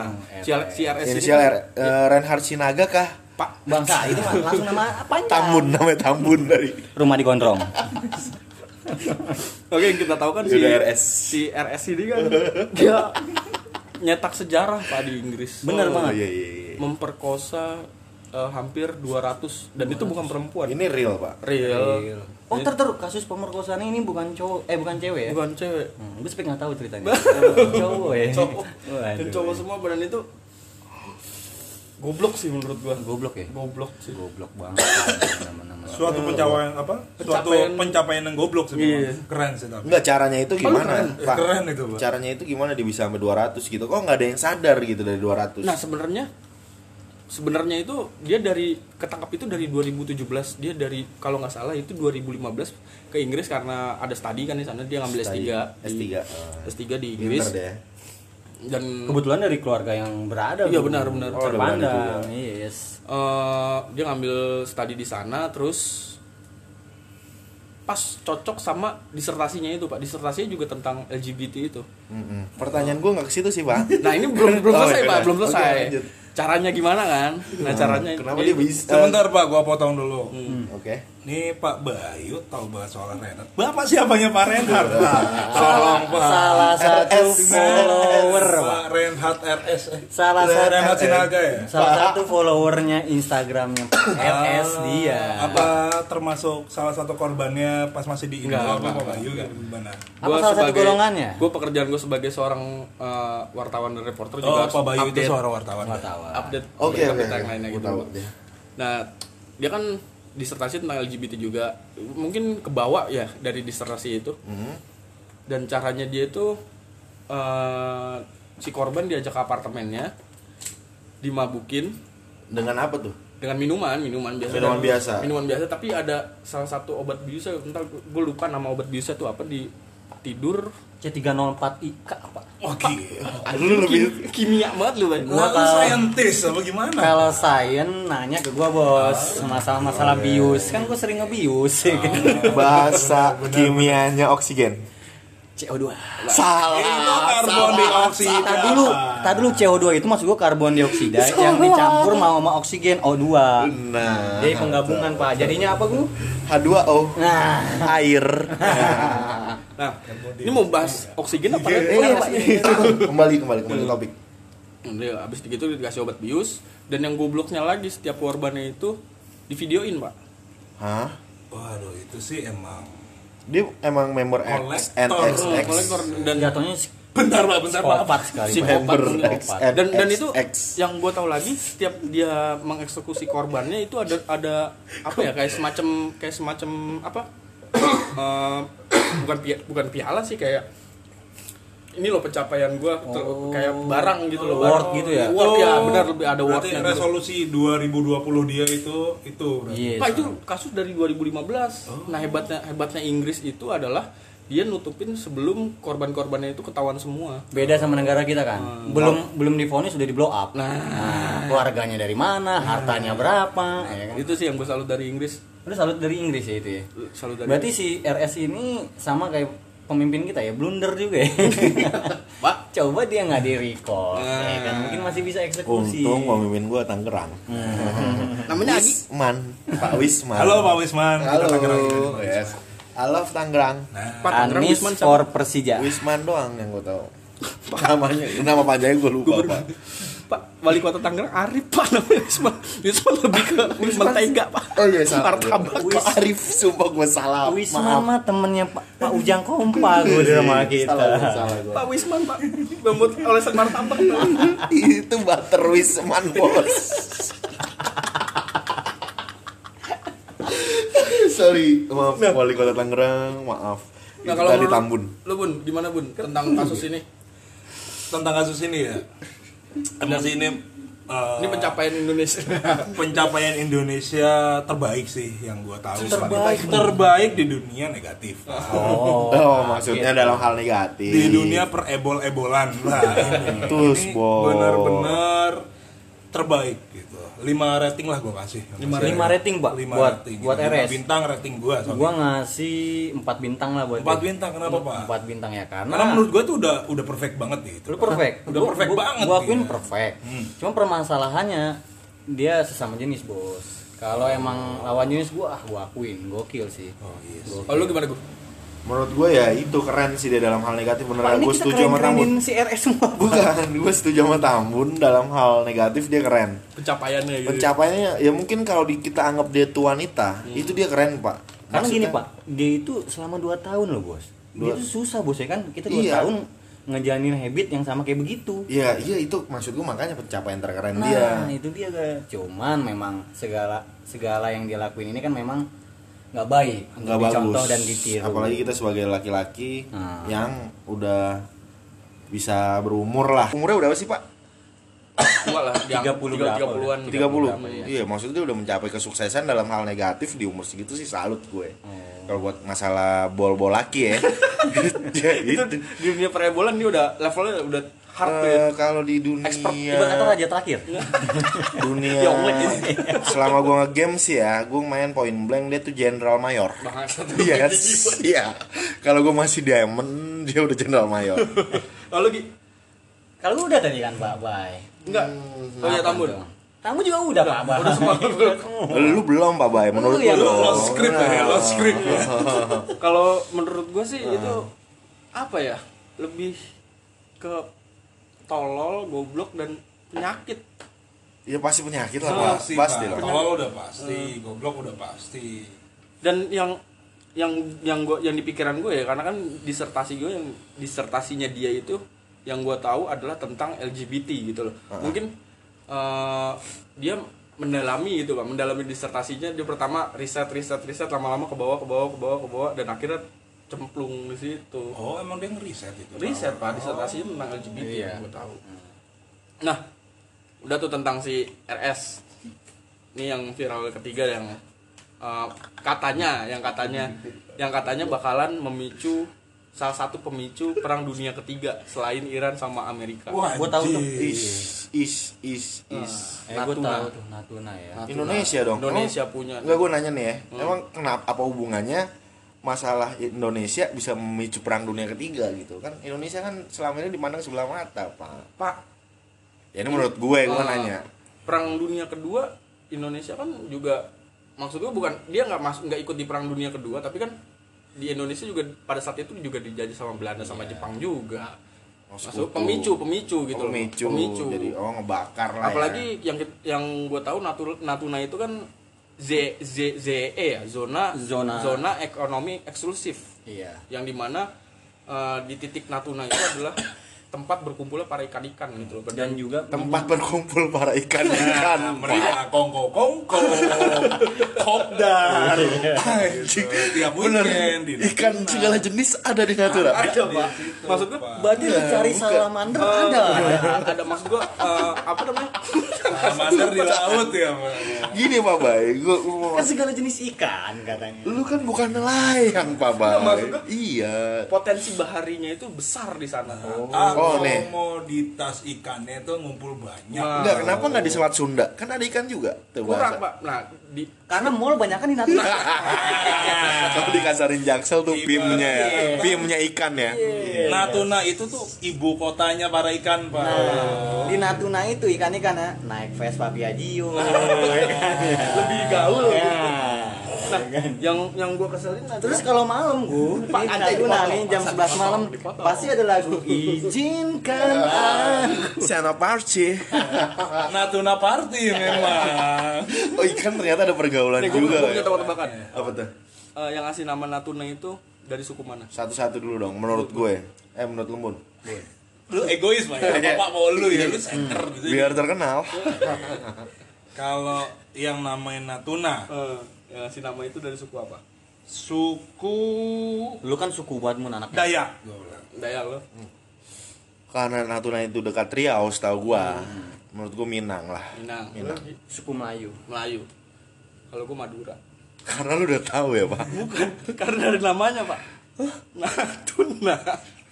Speaker 1: Nah, si R- si RS ini
Speaker 2: inisial
Speaker 1: kan-
Speaker 2: R eh, Reinhard Sinaga kah
Speaker 1: Pak
Speaker 3: Bangsa itu mah langsung nama apa?
Speaker 2: Tambun namanya Tambun dari
Speaker 3: Rumah di Gondrong.
Speaker 1: Oke, yang kita tahu kan si
Speaker 2: Udah RS.
Speaker 1: si RS ini kan dia nyetak sejarah Pak di Inggris. Oh,
Speaker 3: Bener banget.
Speaker 2: iya iya iya.
Speaker 1: Memperkosa eh, hampir 200 dan itu bukan perempuan.
Speaker 2: Ini real pak.
Speaker 1: real.
Speaker 3: Oh tertaruh kasus pemerkosaan ini bukan cowok eh bukan cewek ya?
Speaker 1: Iya. Bukan cewek.
Speaker 3: Hmm, gue sepik nggak tahu ceritanya. Oh, cowok ya.
Speaker 1: Cowok. Dan
Speaker 3: Waduh.
Speaker 1: cowok semua badan itu goblok sih menurut gua.
Speaker 3: Goblok ya.
Speaker 1: Goblok sih.
Speaker 3: Goblok banget. Nama-nama.
Speaker 4: Suatu pencapaian apa? Suatu
Speaker 1: Pencapaian.
Speaker 4: pencapaian yang goblok sih memang.
Speaker 1: Iya.
Speaker 4: Keren sih tapi.
Speaker 2: Enggak caranya itu gimana?
Speaker 4: keren. Keren itu, Pak.
Speaker 2: Caranya itu gimana dia bisa sampai 200 gitu? Kok nggak ada yang sadar gitu dari 200?
Speaker 1: Nah, sebenarnya sebenarnya itu dia dari ketangkap itu dari 2017 dia dari kalau nggak salah itu 2015 ke Inggris karena ada studi kan di sana dia ngambil S3
Speaker 2: S3.
Speaker 1: di, S3 di Inggris
Speaker 2: Ah. Pinter Iya, deh.
Speaker 1: dan
Speaker 3: Kebetulan dari keluarga yang berada.
Speaker 1: Iya,
Speaker 3: Bu.
Speaker 1: benar, benar. iya.
Speaker 2: Oh, ada
Speaker 3: Terpandang. Yes.
Speaker 1: eh, dia ngambil studi di sana terus pas cocok sama disertasinya itu Pak disertasinya juga tentang LGBT itu
Speaker 2: Mm-mm. Pertanyaan gue nggak ke situ sih pak.
Speaker 1: nah ini belum belum
Speaker 2: Oh,
Speaker 1: selesai
Speaker 2: iya.
Speaker 1: pak belum
Speaker 2: Oke,
Speaker 1: selesai
Speaker 2: lanjut. Hmm.
Speaker 1: caranya gimana kan nah caranya
Speaker 2: Kenapa dia bisa?
Speaker 4: Sebentar Pak, gua potong dulu.
Speaker 2: Oke.
Speaker 4: Nih Pak Bayu tahu bahas soal Renat. Bapak siapanya Pak Renat? Pak? Tolong Pak.
Speaker 3: Salah satu
Speaker 2: RS.
Speaker 3: follower, Pak.
Speaker 4: Pak Renhat RS. eh.
Speaker 3: Salah satu
Speaker 4: Renhat Sinaga ya?
Speaker 3: Salah satu followernya Instagramnya RS dia.
Speaker 4: Ah, Apa termasuk salah satu korbannya pas masih di Indo apa Pak Bayu kan gimana?
Speaker 3: Apa salah satu golongannya?
Speaker 1: gue pekerjaan gue sebagai seorang eh, wartawan dan reporter
Speaker 4: Oh,
Speaker 1: juga harus
Speaker 4: Pak Bayu itu
Speaker 1: update-
Speaker 4: seorang wartawan.
Speaker 3: Nggak
Speaker 4: Pak.
Speaker 3: tahu. ah.
Speaker 1: update
Speaker 2: Oke oke.
Speaker 1: berita-berita yang lainnya
Speaker 2: Gua
Speaker 1: gitu
Speaker 2: tahu
Speaker 1: Pak.
Speaker 2: deh.
Speaker 1: nah dia kan disertasi tentang LGBT juga mungkin kebawa ya dari disertasi itu
Speaker 2: Mm.
Speaker 1: dan caranya dia itu eh, si korban diajak ke apartemennya dimabukin
Speaker 2: Dengan apa tuh?
Speaker 1: dengan minuman minuman biasa
Speaker 2: Minuman biasa.
Speaker 1: minuman biasa tapi ada salah satu obat biusnya entar gue lupa nama obat biusnya tuh apa di tidur
Speaker 3: C304IK apa?
Speaker 4: Oke.
Speaker 2: Lu lebih
Speaker 1: kimia banget lu Bay. Nah,
Speaker 4: Oh, Gua kan
Speaker 3: tahu.
Speaker 4: saintis apa gimana?
Speaker 3: Kalau sayen nanya ke gua bos masalah-masalah bius kan gua sering ngebius ya kan.
Speaker 2: bahasa kimianya oksigen.
Speaker 3: CO2.
Speaker 4: Itu
Speaker 2: Ah, Salah.
Speaker 4: karbon dioksida.
Speaker 3: Tadi dulu, tadi dulu CO2 itu maksud gua karbon dioksida yang dicampur mau sama oksigen O2.
Speaker 2: Nah.
Speaker 3: Jadi penggabungan Pak. Jadinya apa gua?
Speaker 2: H2O.
Speaker 3: Nah,
Speaker 2: Air.
Speaker 1: nah ini mau bahas oksigen apa
Speaker 2: Iya, Pak. kembali kembali kembali ke topik.
Speaker 1: Dia Iya, abis itu gitu dikasih obat bius dan yang gobloknya lagi setiap korbannya itu divideoin pak
Speaker 2: Hah?
Speaker 4: Waduh, itu sih emang
Speaker 2: Dia emang member X
Speaker 4: Kolektor.
Speaker 2: and X
Speaker 1: Oh,
Speaker 2: X.
Speaker 1: kolektor dan
Speaker 3: jatuhnya si-
Speaker 1: bentar pak bentar pak
Speaker 3: Psikopat sekali,
Speaker 1: Si
Speaker 3: Pak.
Speaker 2: Member
Speaker 1: psikopat.
Speaker 2: X and
Speaker 1: dan dan
Speaker 2: X
Speaker 1: itu
Speaker 2: X.
Speaker 1: yang gue tahu lagi setiap dia mengeksekusi korbannya itu ada ada apa ya kayak semacam kayak semacam apa Eh, bukan pia- bukan piala sih kayak ini loh pencapaian gue kayak barang gitu loh
Speaker 3: Award
Speaker 1: barang.
Speaker 3: gitu ya?
Speaker 1: award ya benar lebih ada
Speaker 4: Berarti
Speaker 1: awardnya gitu.
Speaker 4: resolusi 2020 dia itu itu. berarti.
Speaker 3: Yes.
Speaker 1: Pak itu kasus dari 2015. Nah hebatnya hebatnya Inggris itu adalah dia nutupin sebelum korban-korbannya itu ketahuan semua.
Speaker 3: beda sama negara kita kan. Belum belum difonis sudah di blow up. Nah, keluarganya dari mana, hartanya berapa, ya kan.
Speaker 1: Itu sih yang gue salut dari Inggris.
Speaker 3: Lu salut dari Inggris ya itu ya.
Speaker 1: Salut dari.
Speaker 3: Berarti si RS ini sama kayak pemimpin kita ya, blunder juga ya. Pak, coba dia nggak di recall, ya kan? Mungkin masih bisa eksekusi.
Speaker 2: Untung pemimpin gua Tangerang. Hmm.
Speaker 1: Namanya Agi.
Speaker 2: Wisman, Pak Wisman.
Speaker 4: Halo Pak Wisman, kita
Speaker 2: Halo.
Speaker 4: Tangerang.
Speaker 2: Yes. I love Tangerang.
Speaker 1: Pak Tangerang
Speaker 3: Anies
Speaker 1: Wisman sama
Speaker 3: for Persija.
Speaker 2: Wisman doang yang gua tahu. Namanya, nama panjangnya gua lupa, Pak.
Speaker 1: Pak Wali Kota Tangerang Arif Pak namanya Wisman. Wisman lebih ke mentega Pak.
Speaker 2: Oh iya, salah.
Speaker 1: Martabak.
Speaker 2: Pak Arif, sumpah gua salah.
Speaker 3: Wisman
Speaker 2: Maaf.
Speaker 3: mah temennya Pak, Pak Ujang Kompa gue di rumah kita.
Speaker 2: Salah gua, salah gua.
Speaker 1: Pak Wisman Pak membuat olesan martabak. Nah,
Speaker 2: itu butter Wisman, Bos. Sorry, maaf wali kota Tangerang, maaf.
Speaker 1: Nah
Speaker 2: Itu
Speaker 1: kalau
Speaker 2: tadi
Speaker 1: menurut-
Speaker 2: Tambun.
Speaker 1: Lu bun gimana bun tentang kasus ini?
Speaker 4: Tentang kasus ini ya. Emang sih ini eh,
Speaker 1: Ini pencapaian Indonesia.
Speaker 4: pencapaian Indonesia terbaik sih yang gua tahu.
Speaker 3: Terbaik.
Speaker 4: terbaik di dunia negatif.
Speaker 2: Oh, maksudnya dalam hal negatif.
Speaker 4: Di dunia perebol-ebolan lah ini.
Speaker 2: Tus,
Speaker 4: Ini
Speaker 2: Bo.
Speaker 4: Benar-benar terbaik gitu. 5 rating lah gua kasih.
Speaker 3: Lima- lima rating, Pak,
Speaker 4: 5
Speaker 3: buat-
Speaker 4: rating.
Speaker 3: buat
Speaker 4: Lima
Speaker 3: RS.
Speaker 4: Bintang rating gua. soalnya.
Speaker 3: Gua ngasih 4 bintang lah buat
Speaker 4: Empat
Speaker 3: dia.
Speaker 4: bintang, kenapa, Pak?
Speaker 3: Empat bintang ya karena,
Speaker 4: Karena menurut gua tuh udah udah perfect banget gitu.
Speaker 3: lu perfect.
Speaker 4: Udah
Speaker 3: Gua-
Speaker 4: perfect
Speaker 3: gua-
Speaker 4: banget
Speaker 3: Gua akuin
Speaker 4: dia. Hmm.
Speaker 3: perfect. Cuma permasalahannya dia sesama jenis, Bos. Kalau emang lawan jenis gua ah gua akuin gokil sih.
Speaker 4: Oh, iya.
Speaker 3: Gokil.
Speaker 1: Kalau lu gimana gue?
Speaker 2: menurut gue ya itu keren sih dia dalam hal negatif beneran
Speaker 3: ini
Speaker 2: gue
Speaker 3: kita
Speaker 2: setuju sama Tambun
Speaker 3: keren-kerenin si RS semua.
Speaker 2: bukan gue setuju sama Tambun dalam hal negatif dia keren
Speaker 1: pencapaiannya gitu.
Speaker 2: pencapaiannya ya mungkin kalau di, kita anggap dia tuh wanita itu dia keren pak
Speaker 3: Hmm. Karena
Speaker 2: Maksudnya-
Speaker 3: gini pak, dia itu selama 2 tahun loh bos. Dia itu susah bos ya kan, kita 2
Speaker 2: Iya.
Speaker 3: tahun ngejalanin habit yang sama kayak begitu.
Speaker 2: Iya, iya itu maksud gue makanya pencapaian terkeren
Speaker 3: Nah
Speaker 2: dia.
Speaker 3: itu dia kan. Cuman memang segala segala yang dia lakuin ini kan memang nggak baik untuk
Speaker 2: Nggak
Speaker 3: dicontoh
Speaker 2: bagus.
Speaker 3: dan ditiru.
Speaker 2: Apalagi kita sebagai laki-laki
Speaker 3: Hmm.
Speaker 2: yang udah bisa berumur lah. Umurnya udah apa sih, Pak?
Speaker 1: Tua lah, di
Speaker 3: 30
Speaker 1: tiga-
Speaker 3: berapa
Speaker 1: 30-an.
Speaker 2: 30.
Speaker 1: 30-an, iya.
Speaker 2: Iya, maksudnya udah mencapai kesuksesan dalam hal negatif di umur segitu sih salut gue.
Speaker 3: Iya.
Speaker 2: Kalau buat masalah bol-bol laki ya. ya
Speaker 1: Itu
Speaker 2: itu.
Speaker 1: di dunia perebolan dia udah levelnya udah hard tuh ya.
Speaker 2: Eh, kalau di dunia
Speaker 1: Expert.
Speaker 3: Ibarat kata raja terakhir.
Speaker 2: dunia
Speaker 4: Ya
Speaker 1: Yonglek ini.
Speaker 2: selama gue nge-game sih ya gue main point blank dia tuh general mayor
Speaker 1: Bangsat.
Speaker 2: Iya kan? Iya. Kalau gue masih diamond, dia udah general mayor.
Speaker 1: Lalu Gi,
Speaker 3: Kalau udah tadi kan Pak Bay.
Speaker 1: enggak. Oh ya
Speaker 3: Apa
Speaker 1: Tambun.
Speaker 3: dong? Iya, Tamu juga udah Pak Bay.
Speaker 1: Udah semua.
Speaker 2: lu belum Pak Bay, menurut Nah.
Speaker 3: Lu ya
Speaker 2: lu belum.
Speaker 3: belum.
Speaker 4: Oh, iya, Lost script ya, lost script ya.
Speaker 1: Kalau menurut gue sih itu apa ya? Lebih ke tolol, goblok dan penyakit.
Speaker 2: Ya pasti penyakit lah Pak,
Speaker 4: Pasti,
Speaker 2: pasti
Speaker 4: Pak.
Speaker 2: lah.
Speaker 4: Tolol udah pasti, goblok udah pasti.
Speaker 1: Dan yang yang yang gua yang di pikiran gue ya karena kan disertasi gue yang disertasinya dia itu yang gue tahu adalah tentang LGBT gitu loh. Mungkin eh, dia mendalami gitu Pak, mendalami disertasinya dia pertama riset riset riset lama-lama ke bawah ke bawah ke bawah ke bawah dan akhirnya cemplung di situ.
Speaker 4: Oh, emang dia ngeriset itu.
Speaker 1: riset pak disertasinya tentang LGBT
Speaker 3: Iya.
Speaker 1: yang gue tahu nah udah tuh tentang si RS ini yang viral ketiga yang eh, katanya yang katanya yang katanya bakalan memicu salah satu pemicu perang dunia ketiga selain Iran sama Amerika
Speaker 4: Wah,
Speaker 3: Gua tahu tuh.
Speaker 4: anjing.
Speaker 2: Is, is, is, is.
Speaker 3: Eh gue
Speaker 1: Natuna.
Speaker 3: tahu tuh Natuna ya.
Speaker 1: Natuna.
Speaker 2: Indonesia dong.
Speaker 1: Nah, kan. Indonesia punya.
Speaker 2: Enggak gue nanya nih ya. Emang kenapa apa hubungannya masalah Indonesia bisa memicu perang dunia ketiga gitu kan Indonesia kan selama ini dipandang sebelah mata pak
Speaker 1: pak
Speaker 2: ya ini menurut gue gue
Speaker 1: eh,
Speaker 2: nanya
Speaker 1: perang dunia kedua Indonesia kan juga maksud gue bukan dia nggak masuk nggak ikut di perang dunia kedua tapi kan di Indonesia juga pada saat itu juga dijajah sama Belanda sama Jepang juga Maksud
Speaker 2: Sekutu.
Speaker 1: pemicu, pemicu gitu loh.
Speaker 2: pemicu,
Speaker 1: Pemicu.
Speaker 2: jadi oh ngebakar lah ya.
Speaker 1: Apalagi yang kit- yang gue tahu Natu- Natuna itu kan Z Z ZE ya, zona
Speaker 3: Zona.
Speaker 1: ekonomi eksklusif.
Speaker 3: Iya.
Speaker 1: Yang dimana eh, di titik Natuna itu adalah tempat berkumpulnya para ikan-ikan gitu loh.
Speaker 3: Dan juga
Speaker 2: tempat berkumpul para
Speaker 1: Iya.
Speaker 2: ikan-ikan
Speaker 4: Nah,
Speaker 2: Pak.
Speaker 4: mereka kongko kongko kopdar
Speaker 2: Anjing.
Speaker 4: tiap
Speaker 2: Bener.
Speaker 4: weekend di
Speaker 2: Ikan segala jenis ada di Natura.
Speaker 1: ada pak. Maksud gue
Speaker 3: Berarti
Speaker 2: Iya,
Speaker 3: lu cari salamander ada.
Speaker 1: ada maksud gue apa namanya?
Speaker 4: Salamander di laut ya Pak.
Speaker 1: Iya.
Speaker 2: Gini Pak Bay, gua, gua mau-
Speaker 3: Kan segala jenis ikan katanya.
Speaker 2: lu kan bukan nelayan Pak Bay.
Speaker 1: maksud gua-
Speaker 2: Iya.
Speaker 1: Potensi baharinya itu besar di sana.
Speaker 2: Oh, nih.
Speaker 4: komoditas ikannya tuh ngumpul banyak
Speaker 1: Nah.
Speaker 2: Enggak, kenapa nggak di Selat Sunda? Kan ada ikan juga. Tuh,
Speaker 1: Kurang
Speaker 2: bahasa.
Speaker 1: pak. Nah di
Speaker 3: Karena mall banyak kan di Natuna.
Speaker 2: Kalau dikasarin Jaksel
Speaker 1: Iya.
Speaker 2: tuh pimnya ya. Pimnya ikan ya.
Speaker 4: Natuna itu tuh ibu kotanya para ikan pak
Speaker 3: Di Natuna itu ikan-ikan ya, naik Vespa Piaggio.
Speaker 1: lebih gaul.
Speaker 3: Ya.
Speaker 1: Nah, yang yang gue keselin adalah
Speaker 3: Terus kalau malam gua
Speaker 1: Pak,
Speaker 3: di
Speaker 1: anjay,
Speaker 3: Natuna
Speaker 1: dipotong.
Speaker 3: nih jam
Speaker 1: Masa
Speaker 3: 11 malam
Speaker 1: dipotong.
Speaker 3: pasti ada lagu izinkan
Speaker 1: Iya.
Speaker 3: aku.
Speaker 2: Sana Parci.
Speaker 4: Natuna party memang
Speaker 2: Oh, ikan ternyata ada pergaulan
Speaker 1: Nih, gua-
Speaker 2: juga.
Speaker 1: gua
Speaker 2: ya.
Speaker 1: punya tebak-tebakan.
Speaker 2: Apa tuh?
Speaker 1: Eh, yang ngasih nama Natuna itu dari suku mana?
Speaker 2: Satu-satu dulu dong menurut gue. Eh menurut lu, Mun.
Speaker 4: lu egois pak ya bapak mau lu ya lu center gitu
Speaker 2: Biar terkenal.
Speaker 4: kalau yang namanya Natuna
Speaker 1: Eh, yang ngasih nama itu dari suku apa?
Speaker 4: suku
Speaker 3: Lu kan suku buatmu anak.
Speaker 4: Dayak gua bilang.
Speaker 1: Dayak lo.
Speaker 2: karena Natuna itu dekat Riau setahu gua menurut gua Minang lah
Speaker 1: Minang.
Speaker 2: Minang.
Speaker 3: Suku Melayu.
Speaker 1: Melayu. Kalau gue Madura.
Speaker 2: karena lu udah tahu ya pak
Speaker 1: Bukan, karena dari namanya, Pak. Natuna.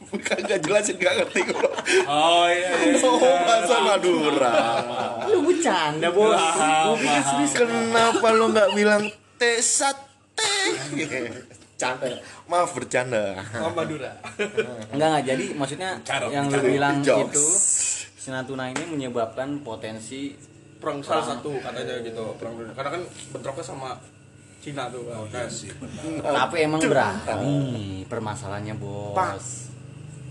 Speaker 2: bukan gak jelasin gak ngerti gua
Speaker 4: oh iya, iya.
Speaker 2: oh masa Madura
Speaker 1: Ah.
Speaker 3: Ah, Lu bercanda, Bos.
Speaker 2: Gua serius kenapa lu nggak bilang teh sate canda maaf bercanda
Speaker 1: Oh, Madura.
Speaker 3: Enggak enggak jadi maksudnya
Speaker 4: Bicara,
Speaker 3: yang lu
Speaker 4: bicara.
Speaker 3: bilang
Speaker 2: Jokes.
Speaker 3: itu si Natuna ini menyebabkan potensi
Speaker 1: Perang salah satu katanya gitu, perang dunia. Karena kan bentroknya sama Cina tuh.
Speaker 4: Oh, iya sih benar.
Speaker 3: Tapi emang berat nih permasalahannya bos.
Speaker 1: Ah. Pak.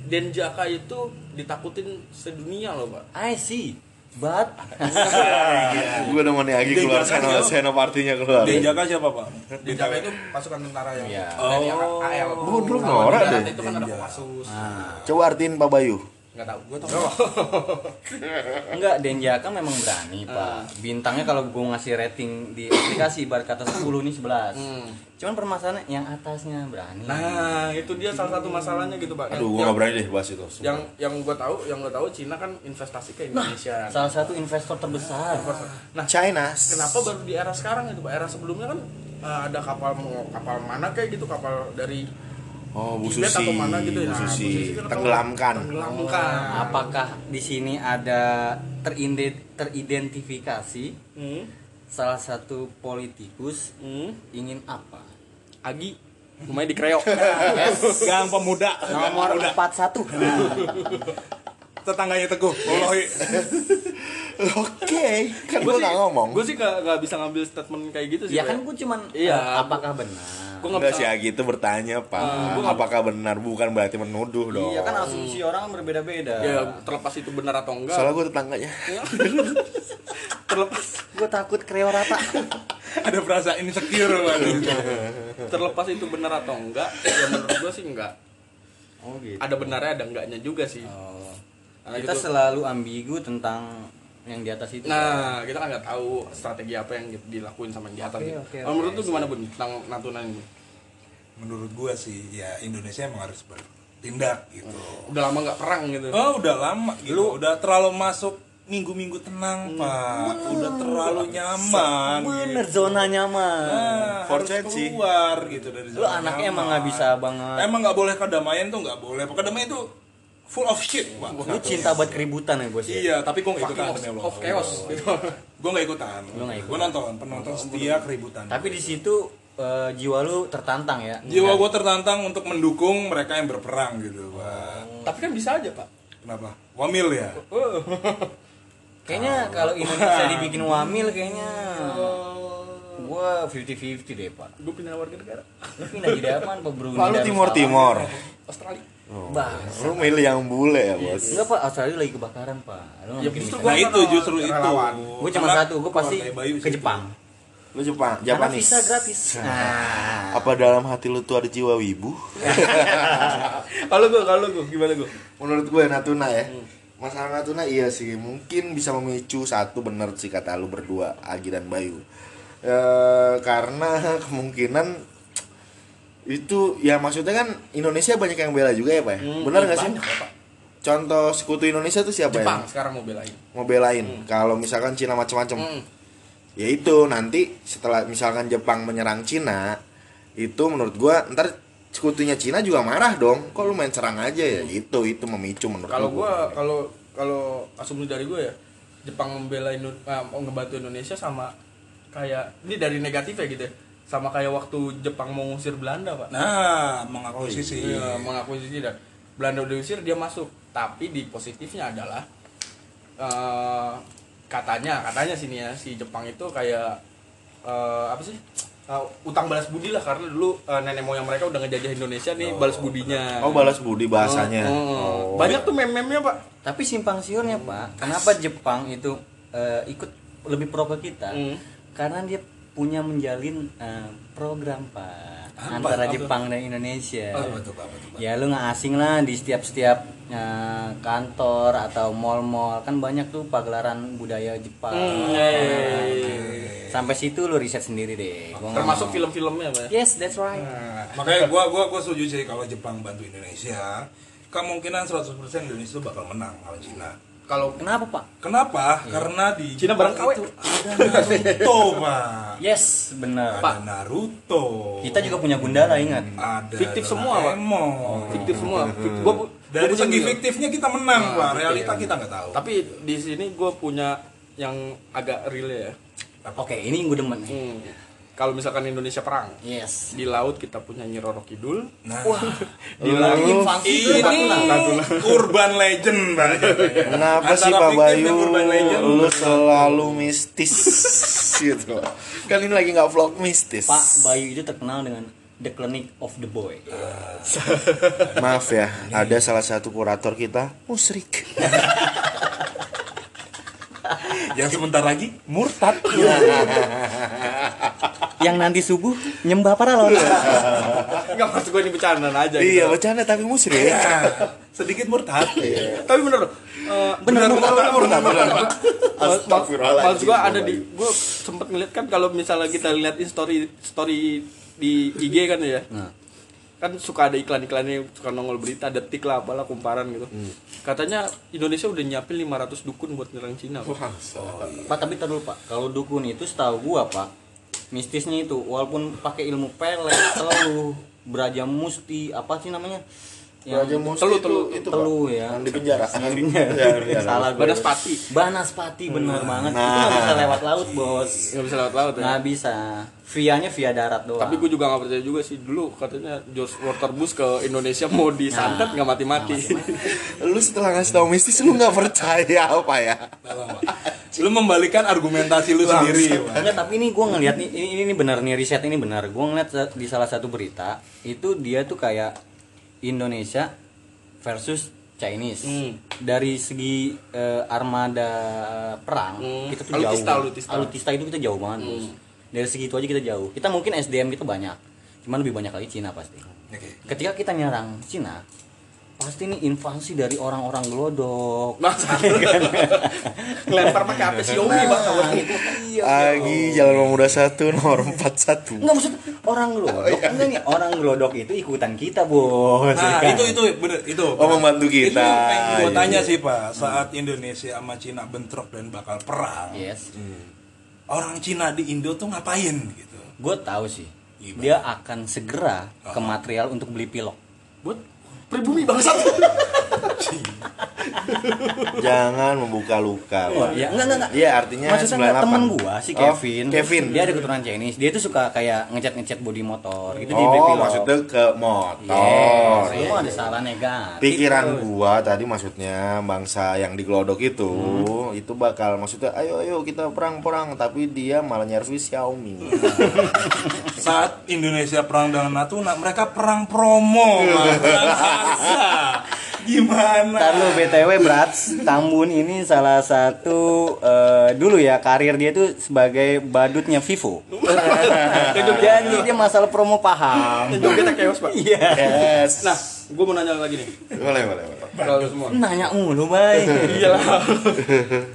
Speaker 1: Dan Jaka itu ditakutin sedunia loh, Pak.
Speaker 3: I see. But
Speaker 2: Gue udah mau lagi keluar seno, senopartinya keluar.
Speaker 4: Dia jaga siapa pak?
Speaker 1: Dan Jaka itu pasukan tentara yang
Speaker 3: Iya.
Speaker 1: dari AL.
Speaker 2: Gua dulu
Speaker 1: Sama
Speaker 2: norak
Speaker 1: di darat
Speaker 2: deh.
Speaker 1: Itu kan ada Kopassus.
Speaker 3: Ah.
Speaker 2: Coba artiin Pak Bayu.
Speaker 1: Enggak tahu gua tahu.
Speaker 2: Oh.
Speaker 3: enggak Denjaka memang berani, Pak. Bintangnya kalau gue ngasih rating di aplikasi ibarat kata 10 nih 11. Cuman permasalahannya yang atasnya berani.
Speaker 1: Nah, itu dia salah satu masalahnya gitu, Pak. Yang-
Speaker 2: Aduh, gue
Speaker 1: yang-
Speaker 2: gak berani deh bahas itu. sumpah.
Speaker 1: yang yang gue tahu yang gue tahu Cina kan investasi ke Indonesia
Speaker 3: Salah satu investor terbesar.
Speaker 1: nah
Speaker 2: China.
Speaker 1: kenapa baru di era sekarang itu pak era sebelumnya kan eh, ada kapal mau kapal mana kayak gitu kapal dari
Speaker 2: Oh, Bu
Speaker 1: Tibet
Speaker 2: Susi.
Speaker 1: atau mana gitu ya Nah,
Speaker 2: Bu
Speaker 1: Bu
Speaker 2: Susi.
Speaker 1: Susi kan
Speaker 2: Tenggelamkan.
Speaker 1: tenggelamkan
Speaker 3: Apakah di sini ada terinde- teridentifikasi
Speaker 1: hmm.
Speaker 3: salah satu politikus
Speaker 1: Hmm.
Speaker 3: ingin apa?
Speaker 1: Agi lumayan dikreok
Speaker 4: Gang pemuda.
Speaker 3: Nomor 41.
Speaker 4: Tetangganya teguh. Wallahi.
Speaker 2: Oke, kan gue gak ngomong.
Speaker 1: gue sih gak, gak bisa ngambil statement kayak gitu sih
Speaker 3: ya
Speaker 1: Pak.
Speaker 3: kan gue cuman
Speaker 1: Iya.
Speaker 3: eh, apakah benar?
Speaker 1: gue gak
Speaker 2: Enggak
Speaker 1: bisa
Speaker 2: sih Agi itu bertanya pak,
Speaker 1: gua nggak-
Speaker 2: apakah benar bukan berarti menuduh dong.
Speaker 3: Ah, Iya kan asumsi orang berbeda-beda.
Speaker 1: ya terlepas itu benar atau enggak
Speaker 2: Soalnya gue tetangganya.
Speaker 1: terlepas
Speaker 3: Gue takut kreo rata.
Speaker 4: Ada perasaan insecure waduh.
Speaker 1: terlepas itu benar atau enggak ya menurut gue sih enggak
Speaker 3: oh gitu.
Speaker 1: ada benarnya ada enggaknya juga sih
Speaker 3: Oh.
Speaker 1: Nah,
Speaker 3: Kita
Speaker 1: gitu.
Speaker 3: selalu ambigu tentang yang di atas itu.
Speaker 1: Nah, kita kan nggak tahu strategi apa yang dilakuin sama yang di atas.
Speaker 3: Oke,
Speaker 1: gitu.
Speaker 3: oke,
Speaker 1: Kalau
Speaker 3: oke.
Speaker 1: menurut tuh gimana bun tentang Natuna ini?
Speaker 4: Menurut gua sih ya Indonesia emang harus bertindak gitu.
Speaker 1: Udah lama nggak perang gitu.
Speaker 4: Oh udah lama gitu. Udah terlalu masuk minggu-minggu tenang pak. Udah terlalu nyaman. gitu.
Speaker 3: bener zona nyaman.
Speaker 4: Nah,
Speaker 2: For
Speaker 4: harus
Speaker 2: Chelsea.
Speaker 4: keluar gitu dari
Speaker 3: Lu
Speaker 4: zona
Speaker 3: anaknya
Speaker 4: nyaman.
Speaker 3: emang nggak bisa banget.
Speaker 4: Emang nggak boleh kedamaian tuh nggak boleh. Kedamaian itu full of shit pak. Nah,
Speaker 3: Lu cinta buat keributan ya bos ya?
Speaker 4: Iya, tapi gue nggak
Speaker 1: Fucking
Speaker 4: ikutan.
Speaker 1: of,
Speaker 4: demi Allah.
Speaker 1: of chaos gitu.
Speaker 4: Gue nggak ikutan.
Speaker 3: Lu nggak ikutan.
Speaker 4: Gue nonton, penonton setia keributan.
Speaker 3: Tapi di situ eh, jiwa lu tertantang ya.
Speaker 4: jiwa gue tertantang untuk mendukung mereka yang berperang gitu, Pak.
Speaker 1: Tapi kan bisa aja pak.
Speaker 4: Kenapa? Wamil ya.
Speaker 3: Kayaknya kalau Indonesia dibikin wamil kayaknya gua 50-50 deh, Pak.
Speaker 1: Gue pindah warga negara.
Speaker 3: Lu pindah jadi apaan, Pak Bro?
Speaker 2: Lalu Timor Timor.
Speaker 1: Australia.
Speaker 3: Bang.
Speaker 2: Oh. Lu milih yang bule ya bos.
Speaker 3: Enggak, Pak. Australia lagi kebakaran, Pak. Lu
Speaker 1: Ya, justru
Speaker 4: Nah
Speaker 1: Gua
Speaker 4: itu
Speaker 1: relawan,
Speaker 4: justru itu.
Speaker 1: relawan.
Speaker 3: Gue cuma
Speaker 4: Karena
Speaker 3: satu, gue pasti
Speaker 4: keluarga Bayu
Speaker 3: ke
Speaker 4: situ.
Speaker 3: Jepang.
Speaker 2: Lu Jepang,
Speaker 3: Karena
Speaker 2: Japanis.
Speaker 3: visa gratis. Nah,
Speaker 2: Apa dalam hati lu tuh ada jiwa wibu?
Speaker 1: Kalau gue, kalau gue gimana gue?
Speaker 2: Menurut gue Natuna ya.
Speaker 1: Hmm.
Speaker 2: Masalah Natuna iya sih, mungkin bisa memicu satu bener sih kata lu berdua, Agi dan Bayu. Eh, karena kemungkinan itu ya maksudnya kan Indonesia banyak yang bela juga ya pak ya?
Speaker 1: Hmm,
Speaker 2: bener
Speaker 1: iya,
Speaker 2: nggak sih contoh sekutu Indonesia tuh siapa ya
Speaker 1: Jepang Hmm. sekarang mau belain.
Speaker 2: mau belain kalau misalkan Cina macam-macam
Speaker 1: Hmm.
Speaker 2: ya itu nanti setelah misalkan Jepang menyerang Cina itu menurut gua ntar sekutunya Cina juga marah dong kok lu main serang aja ya itu itu memicu menurut
Speaker 1: Kalau gue, kalau kalau asumsi dari gue ya, Jepang membela Indo- eh, mau ngebantu Indonesia sama kayak ini dari negatifnya gitu. ya. Sama kayak waktu Jepang mau ngusir Belanda pak.
Speaker 4: Nah, mengakuisisi.
Speaker 1: Iya, mengakuisisi dan Belanda udah diusir dia masuk. Tapi di positifnya adalah eh, katanya katanya sini ya si Jepang itu kayak eh, apa sih? Eh, utang balas budi lah karena dulu eh, nenek moyang mereka udah ngejajah Indonesia nih balas budinya.
Speaker 2: oh balas budi bahasanya
Speaker 1: Oh, oh.
Speaker 2: Oh.
Speaker 1: Banyak tuh meme-memnya, Pak.
Speaker 3: tapi simpang siurnya, Pak. Kenapa Jepang itu eh, ikut lebih pro ke kita?
Speaker 1: Hmm.
Speaker 3: Karena dia punya menjalin eh, program, Pak.
Speaker 4: Apa?
Speaker 3: Antara
Speaker 4: Apa?
Speaker 3: Jepang dan Indonesia.
Speaker 4: Apa tuh, Pak? Apa tuh, Pak?
Speaker 3: Ya lu nggak asing lah di setiap-setiap eh, kantor atau mall-mall kan banyak tuh pagelaran budaya
Speaker 1: Hmm,
Speaker 3: Jepang.
Speaker 4: Hmm.
Speaker 1: iya,
Speaker 3: Sampai situ lu riset sendiri deh. Gua
Speaker 4: Hmm.
Speaker 3: nggak
Speaker 1: Termasuk
Speaker 3: mau.
Speaker 1: film-filmnya, Pak.
Speaker 4: Iya.
Speaker 3: Yes, that's right.
Speaker 4: Nah, makanya gua gua gua setuju sih kalau Jepang bantu Indonesia, kemungkinan 100% Indonesia tuh bakal menang lawan Cina.
Speaker 1: Kalau
Speaker 3: Kenapa, Pak?
Speaker 4: Kenapa? Karena di
Speaker 1: Cina barang
Speaker 4: Jepang
Speaker 1: KW.
Speaker 4: itu ada Naruto, Pak.
Speaker 3: Yes, benar.
Speaker 4: Ada Naruto.
Speaker 3: Kita juga punya Gundala, ingat.
Speaker 4: ada
Speaker 1: Fiktif semua, Pak.
Speaker 4: Doraemon.
Speaker 1: fiktif
Speaker 2: Hmm.
Speaker 1: semua, Fik- gua pu- gua
Speaker 4: Dari
Speaker 1: punya
Speaker 4: segi
Speaker 1: gitu.
Speaker 4: fiktifnya kita menang, Pak. Realita kita nggak tahu.
Speaker 1: Tapi di sini gue punya yang agak real ya.
Speaker 3: Oke, ini yang gue demen nih.
Speaker 1: Hmm. kalau misalkan Indonesia perang
Speaker 5: Yes.
Speaker 1: di laut kita punya Nyi Roro Kidul
Speaker 4: Nah,
Speaker 2: Di lalu
Speaker 3: Iya,
Speaker 4: ini urban legend Pak.
Speaker 2: kenapa
Speaker 4: Antara
Speaker 2: sih Pak
Speaker 4: fiktif
Speaker 2: Bayu
Speaker 4: dan urban legend.
Speaker 2: lu selalu mistis gitu. Kan ini lagi nggak vlog mistis.
Speaker 3: Pak Bayu itu terkenal dengan The Clinic of the Boy.
Speaker 2: Maaf ya, ada salah satu kurator kita musrik.
Speaker 4: Yang sebentar lagi
Speaker 2: Murtad.
Speaker 3: Yang nanti subuh nyembah paralon.
Speaker 1: nggak maksud gue ini bercandaan aja gitu.
Speaker 2: iya, bercanda tapi musrik.
Speaker 1: Iya.
Speaker 4: sedikit murtad.
Speaker 2: Iya,
Speaker 1: tapi bener loh Eh,
Speaker 3: Bener, bener,
Speaker 1: bener, bener, bener.
Speaker 2: Astagfirullahaladzim.
Speaker 1: Maksud gua ada di gua sempet ngeliat kan kalau misalnya kita lihat in story story di IG kan ya.
Speaker 2: Nah.
Speaker 1: Kan suka ada iklan-iklannya suka nongol berita detik lah apalah kumparan gitu.
Speaker 2: Hmm.
Speaker 1: Katanya Indonesia udah nyiapin 500 dukun buat nyerang Cina. Pak.
Speaker 3: Pak tapi tar dulu Pak. Kalau dukun itu setahu gua Pak, mistisnya itu walaupun pakai ilmu pelet, teluh, beraja musti, apa sih namanya?
Speaker 2: Raja
Speaker 3: Yang
Speaker 2: Musti
Speaker 1: Telu,
Speaker 2: Iya. itu-
Speaker 1: telu,
Speaker 2: itu, Pak.
Speaker 3: teluh ya.
Speaker 2: Yang di penjara. Iya, Hmm. Nah. di penjara.
Speaker 3: Salah gua.
Speaker 1: Banaspati.
Speaker 3: Banaspati benar banget. Itu nggak bisa lewat laut, Bos.
Speaker 1: Nggak bisa lewat laut ya.
Speaker 2: Nah,
Speaker 3: Nggak bisa. Via-nya via darat doang.
Speaker 1: Tapi gue juga gak percaya juga sih dulu katanya George Waterbus ke Indonesia mau disantet Nah. nggak mati-mati.
Speaker 2: Lu setelah ngasih tau mistis lu nggak percaya apa ya?
Speaker 4: Lu membalikan argumentasi lu sendiri. Pak.
Speaker 3: Enggak, tapi ini gue ngeliat nih, ini ini, ini benar nih riset ini benar. Gue ngeliat sa- di salah satu berita itu dia tuh kayak Indonesia versus Chinese.
Speaker 1: Hmm.
Speaker 3: Dari segi eh, armada perang
Speaker 1: Hmm.
Speaker 3: kita tuh
Speaker 1: Alutista,
Speaker 3: jauh.
Speaker 1: alutista. Hmm.
Speaker 3: itu kita jauh banget. Bos. Dari segi itu aja kita jauh. Kita mungkin SDM kita banyak, cuman lebih banyak lagi Cina pasti.
Speaker 4: Oke.
Speaker 3: Ketika kita nyerang Cina, pasti ini invasi dari orang-orang gelodok.
Speaker 1: Masa ngelempar pakai HP Xiaomi bahkan. Ya Iya.
Speaker 2: Agi Jalan Pemuda 1 nomor 41.
Speaker 3: Enggak maksud orang gelodok, enggak nih orang gelodok itu ikutan kita bos. ya
Speaker 4: Nah,
Speaker 3: kan?
Speaker 4: itu itu bener itu.
Speaker 2: Oh, membantu kita.
Speaker 4: Itu yang
Speaker 2: Iya.
Speaker 4: gua tanya sih, Pak. Saat Indonesia sama Cina bentrok dan bakal perang,
Speaker 2: Iya.
Speaker 3: Yes,
Speaker 4: orang Cina di Indo tuh ngapain gitu.
Speaker 3: gue tahu sih.
Speaker 4: Gimana?
Speaker 3: Dia akan segera ke material untuk beli pilok.
Speaker 1: Buat pribumi bangsat.
Speaker 2: Jangan membuka luka. Pak.
Speaker 1: Ya,
Speaker 3: Iya, enggak enggak enggak.
Speaker 2: Iya, artinya
Speaker 3: Maksudnya enggak,
Speaker 2: 98.
Speaker 3: temen gua si
Speaker 2: Oh,
Speaker 3: Kevin.
Speaker 2: Kevin.
Speaker 3: Dia ada keturunan Chinese. Dia tuh suka kayak ngecat-ngecat bodi motor gitu di beli
Speaker 2: Oh,
Speaker 3: pilok.
Speaker 2: maksudnya ke
Speaker 3: Yes,
Speaker 2: motor.
Speaker 3: semua ada salah negatif.
Speaker 2: Pikiran gua tadi maksudnya bangsa yang digelodok itu itu bakal maksudnya ayo ayo kita perang-perang tapi dia malah nyervis Xiaomi.
Speaker 4: Saat Indonesia perang dengan Natuna, mereka perang promo,
Speaker 2: Iya.
Speaker 4: Pak. Perang sasa. Gimana?
Speaker 3: Ntar lu BTW Brats, Tambun ini salah satu eh, dulu ya karir dia tuh sebagai badutnya Vivo. Jadi dia masalah promo paham.
Speaker 1: Jogetnya chaos, Pak.
Speaker 3: Iya.
Speaker 2: Yes.
Speaker 1: Nah, gue mau nanya lagi nih.
Speaker 2: boleh boleh boleh.
Speaker 1: Kalau semua.
Speaker 3: Nanya mulu baik.
Speaker 1: Iyalah.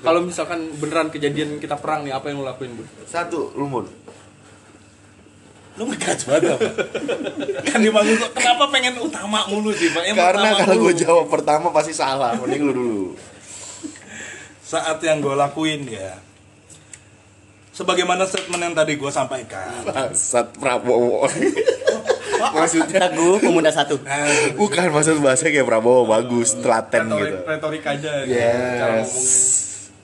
Speaker 1: Kalau misalkan beneran kejadian kita perang nih, apa yang lo lakuin, Bu?
Speaker 2: Satu lumut.
Speaker 4: Lu ngegas banget apa? kan di panggung gua, kenapa pengen utama mulu sih, Pak? Yang
Speaker 2: Karena
Speaker 4: pertama
Speaker 2: kalau
Speaker 4: dulu.
Speaker 2: gua jawab pertama pasti salah. Mending lu dulu.
Speaker 4: saat yang gue lakuin ya sebagaimana statement yang tadi gue sampaikan
Speaker 2: Bangsat Prabowo. maksudnya
Speaker 3: Teguh pemuda satu. gitu.
Speaker 4: Eh,
Speaker 2: bukan maksud bahasa kayak Prabowo bagus, telaten
Speaker 1: Retorik,
Speaker 2: gitu.
Speaker 1: retorik aja. Cara
Speaker 2: Yes.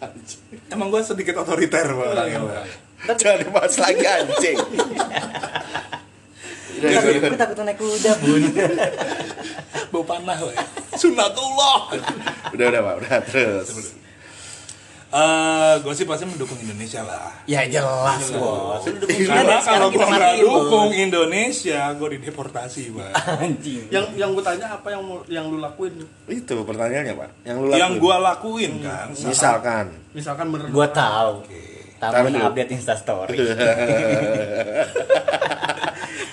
Speaker 1: ngomong.
Speaker 4: emang gue sedikit otoriter Pak.
Speaker 3: Iya,
Speaker 2: Jangan dibahas lagi anjing.
Speaker 3: Aku takut naik kuda bun.
Speaker 4: bau panah we. sunatullah
Speaker 2: udah udah pak udah terus
Speaker 4: Eh, gue sih pasti mendukung Indonesia lah
Speaker 3: Ya jelas bos. Lu dukung Cina,
Speaker 4: karena
Speaker 3: sekarang
Speaker 4: kalau
Speaker 3: kita
Speaker 4: gue nggak
Speaker 3: matiin, Bos.
Speaker 4: dukung Indonesia gue dideportasi pak
Speaker 3: Anjing.
Speaker 1: Yang yang gue tanya apa yang mau- yang lu lakuin?
Speaker 2: itu pertanyaannya pak yang lu
Speaker 4: yang
Speaker 2: lakuin.
Speaker 4: gue lakuin kan
Speaker 3: Hmm.
Speaker 4: saat-
Speaker 2: misalkan
Speaker 1: Misalkan beneran
Speaker 3: Gua tahu. Tambun
Speaker 2: Taruh.
Speaker 3: update Insta story.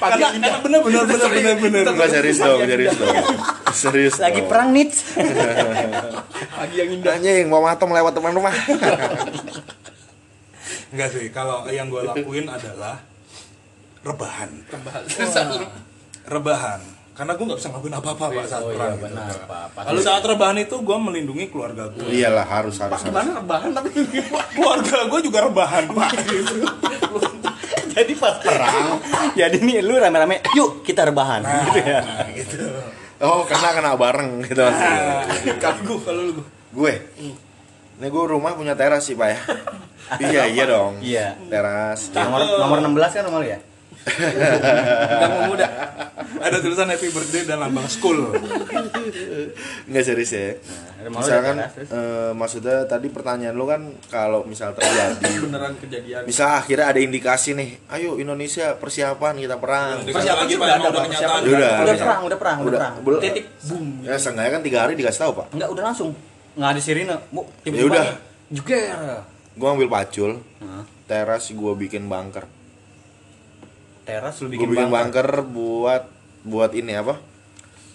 Speaker 4: karena karena bener bener bener bener bener
Speaker 2: Enggak serius dong serius dong serius
Speaker 3: Lagi
Speaker 2: dong.
Speaker 3: perang nih.
Speaker 1: pagi yang indah.
Speaker 2: anjing mau matom lewat teman rumah
Speaker 4: Enggak sih kalau yang gue lakuin adalah rebahan rebahan karena gue nggak bisa ngelakuin apa-apa pak saat perang gitu.
Speaker 3: benar, Pak. Pas-
Speaker 4: Lalu saat rebahan itu gue melindungi keluarga gue.
Speaker 2: iyalah harus harus harus
Speaker 1: Gimana rebahan tapi
Speaker 4: Keluarga gue juga rebahan pak. Gitu.
Speaker 3: Jadi pas perang, jadi nih lu rame-rame, yuk kita rebahan gitu ya.
Speaker 4: Nah, gitu.
Speaker 3: Ah.
Speaker 4: Nah,
Speaker 2: oh kena kena bareng gitu maksudnya.
Speaker 4: Kalau gue kalau lu
Speaker 2: gue Ini gue rumah punya teras sih pak ya. iya iya dong.
Speaker 3: Iya.
Speaker 2: Teras.
Speaker 3: Nomor nomor 16 kan nomor lu ya?
Speaker 1: Udah mau muda.
Speaker 4: Ada tulisan Happy Birthday dan lambang school.
Speaker 2: Nggak serius ya.
Speaker 3: Nah, rumah lu
Speaker 2: Misalkan
Speaker 3: ada teras, terus?
Speaker 2: eh, maksudnya tadi pertanyaan lu kan kalau misal terjadi
Speaker 1: Beneran kejadian.
Speaker 2: misal akhirnya ada indikasi nih, ayo Indonesia persiapan kita perang.
Speaker 1: Persiapan juga
Speaker 4: emang
Speaker 1: ada,
Speaker 4: udah
Speaker 1: Pak.
Speaker 4: kenyataan.
Speaker 1: Persiapan
Speaker 2: Udah,
Speaker 3: Udah
Speaker 2: udah.
Speaker 3: perang, udah perang, udah perang.
Speaker 2: belum.
Speaker 1: Titik boom.
Speaker 2: Ya seenggaknya kan tiga hari dikasih tahu pak.
Speaker 3: Enggak, udah langsung. Enggak ada sirine. Bu,
Speaker 2: Ya udah.
Speaker 3: Juger.
Speaker 2: Gue ambil pacul,
Speaker 3: Nah,
Speaker 2: teras gue bikin bunker.
Speaker 3: teras lu
Speaker 2: Gue
Speaker 3: bikin,
Speaker 2: bikin bunker
Speaker 3: bunker.
Speaker 2: buat buat ini apa?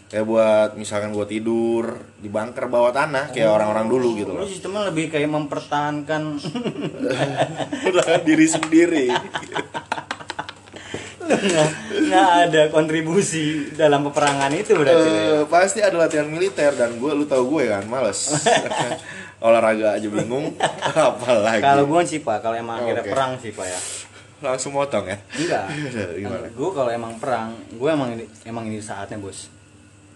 Speaker 2: Kayak buat misalkan gue tidur di bunker bawah tanah kayak
Speaker 3: Oh.
Speaker 2: orang-orang dulu gitu
Speaker 3: Lu
Speaker 2: loh.
Speaker 3: sistemnya lebih kayak mempertahankan
Speaker 2: Padahal kan, diri sendiri.
Speaker 3: nggak nggak ada kontribusi dalam peperangan itu berarti.
Speaker 2: Eh,
Speaker 3: ya.
Speaker 2: pasti ada latihan militer dan gue lu tahu gue kan males olahraga aja bingung apalagi
Speaker 3: Kalau gue sih pak, kalau emang
Speaker 2: Oh,
Speaker 3: akhirnya
Speaker 2: oke.
Speaker 3: perang sih pak ya.
Speaker 2: langsung motong ya
Speaker 3: Enggak.
Speaker 2: Gimana?
Speaker 3: Gue kalau emang perang, gue emang ini, emang ini saatnya bos.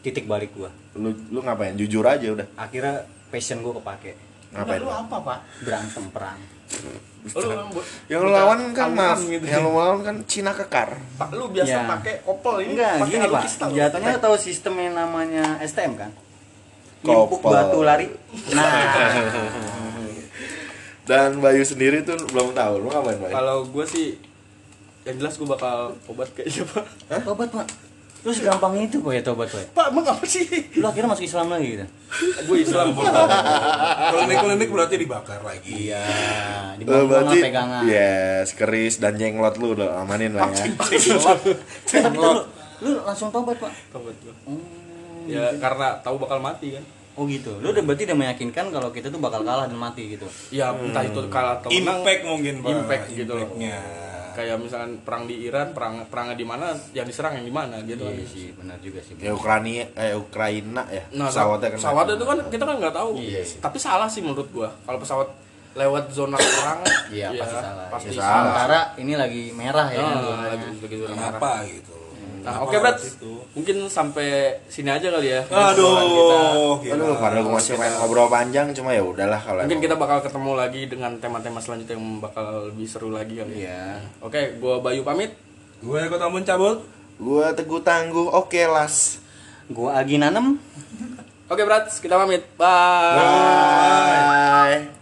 Speaker 3: Titik balik gue.
Speaker 2: lu lu ngapain jujur aja udah
Speaker 3: Akhirnya passion gue kepake.
Speaker 2: ngapain
Speaker 1: Lu apa, Pak?
Speaker 3: Berantem perang.
Speaker 1: Lu bu-
Speaker 2: yang lu lawan kan
Speaker 1: Tawuran
Speaker 2: maaf
Speaker 1: gitu.
Speaker 2: yang lu lawan kan Cina kekar
Speaker 1: Pak, lu biasa
Speaker 3: Ya.
Speaker 1: pakai kopel ini.
Speaker 3: Enggak,
Speaker 1: pakai
Speaker 3: gini pak.
Speaker 1: alukista lu.
Speaker 3: Jatuhnya tahu sistem yang namanya STM kan? Limpuk
Speaker 2: Kopel.
Speaker 3: batu lari. Nah,
Speaker 2: dan Bayu sendiri tuh belum tahu lu ngapain Bayu
Speaker 1: Kalau gue sih yang jelas gue bakal obat kayaknya Pak.
Speaker 3: tobat pak. Terus gampang itu pak ya tobat pak. ya?
Speaker 1: Pak, emang apa sih?
Speaker 3: Lu akhirnya masuk Islam lagi gitu.
Speaker 1: gue Islam.
Speaker 4: Klinik-klinik berarti dibakar lagi.
Speaker 3: Iya.
Speaker 1: Nah,
Speaker 3: Di
Speaker 1: Oh,
Speaker 2: Eh, berarti
Speaker 3: pegangan.
Speaker 1: iya.
Speaker 2: yes keris dan jenglot lu udah amanin lah ya
Speaker 3: Eh, tapi lu, lu langsung tobat pak.
Speaker 1: Tobat gua. Ya karena tahu bakal mati kan.
Speaker 3: Oh gitu. Lu udah berarti udah meyakinkan kalau kita tuh bakal kalah dan mati gitu.
Speaker 1: Ya entah itu kalah atau menang.
Speaker 4: Impact mungkin pak.
Speaker 1: Impact gitu loh.
Speaker 4: Impactnya.
Speaker 1: Kayak misalkan perang di Iran, perang perangnya di mana, yang diserang yang di mana gitu kan.
Speaker 3: Iya sih, benar juga sih.
Speaker 2: ya Ukraina eh Ukraina ya
Speaker 1: Nah,
Speaker 2: pesawatnya
Speaker 1: pesawatnya
Speaker 2: kena
Speaker 1: itu kan kita kan nggak tahu.
Speaker 3: Iya
Speaker 1: Tapi salah sih menurut gua. Kalau pesawat lewat zona perang,
Speaker 3: Iya, pasti salah.
Speaker 1: Pasti
Speaker 3: Iya,
Speaker 1: salah.
Speaker 3: Sementara ini lagi merah ya.
Speaker 1: Nah,
Speaker 3: zonanya.
Speaker 1: lagi sebagai zona merah.
Speaker 4: Kenapa gitu?
Speaker 1: Nah,
Speaker 4: Kenapa
Speaker 1: oke Brad.
Speaker 4: lewat situ?
Speaker 1: Mungkin sampai sini aja kali ya.
Speaker 4: Aduh, gila.
Speaker 2: Aduh, Iya, padahal gue masih pengen ngobrol panjang, cuma ya udahlah kalau
Speaker 1: Mungkin
Speaker 2: emang-
Speaker 1: kita bakal ketemu lagi dengan tema-tema selanjutnya yang bakal lebih seru lagi kali ya.
Speaker 3: Iya.
Speaker 1: Oke, gua Bayu pamit.
Speaker 4: Gue Kota Ambon cabut.
Speaker 2: Gue teguh tangguh, oke las.
Speaker 3: Gua Agi nanem.
Speaker 1: Oke, Brad, kita pamit. Bye.
Speaker 2: Bye.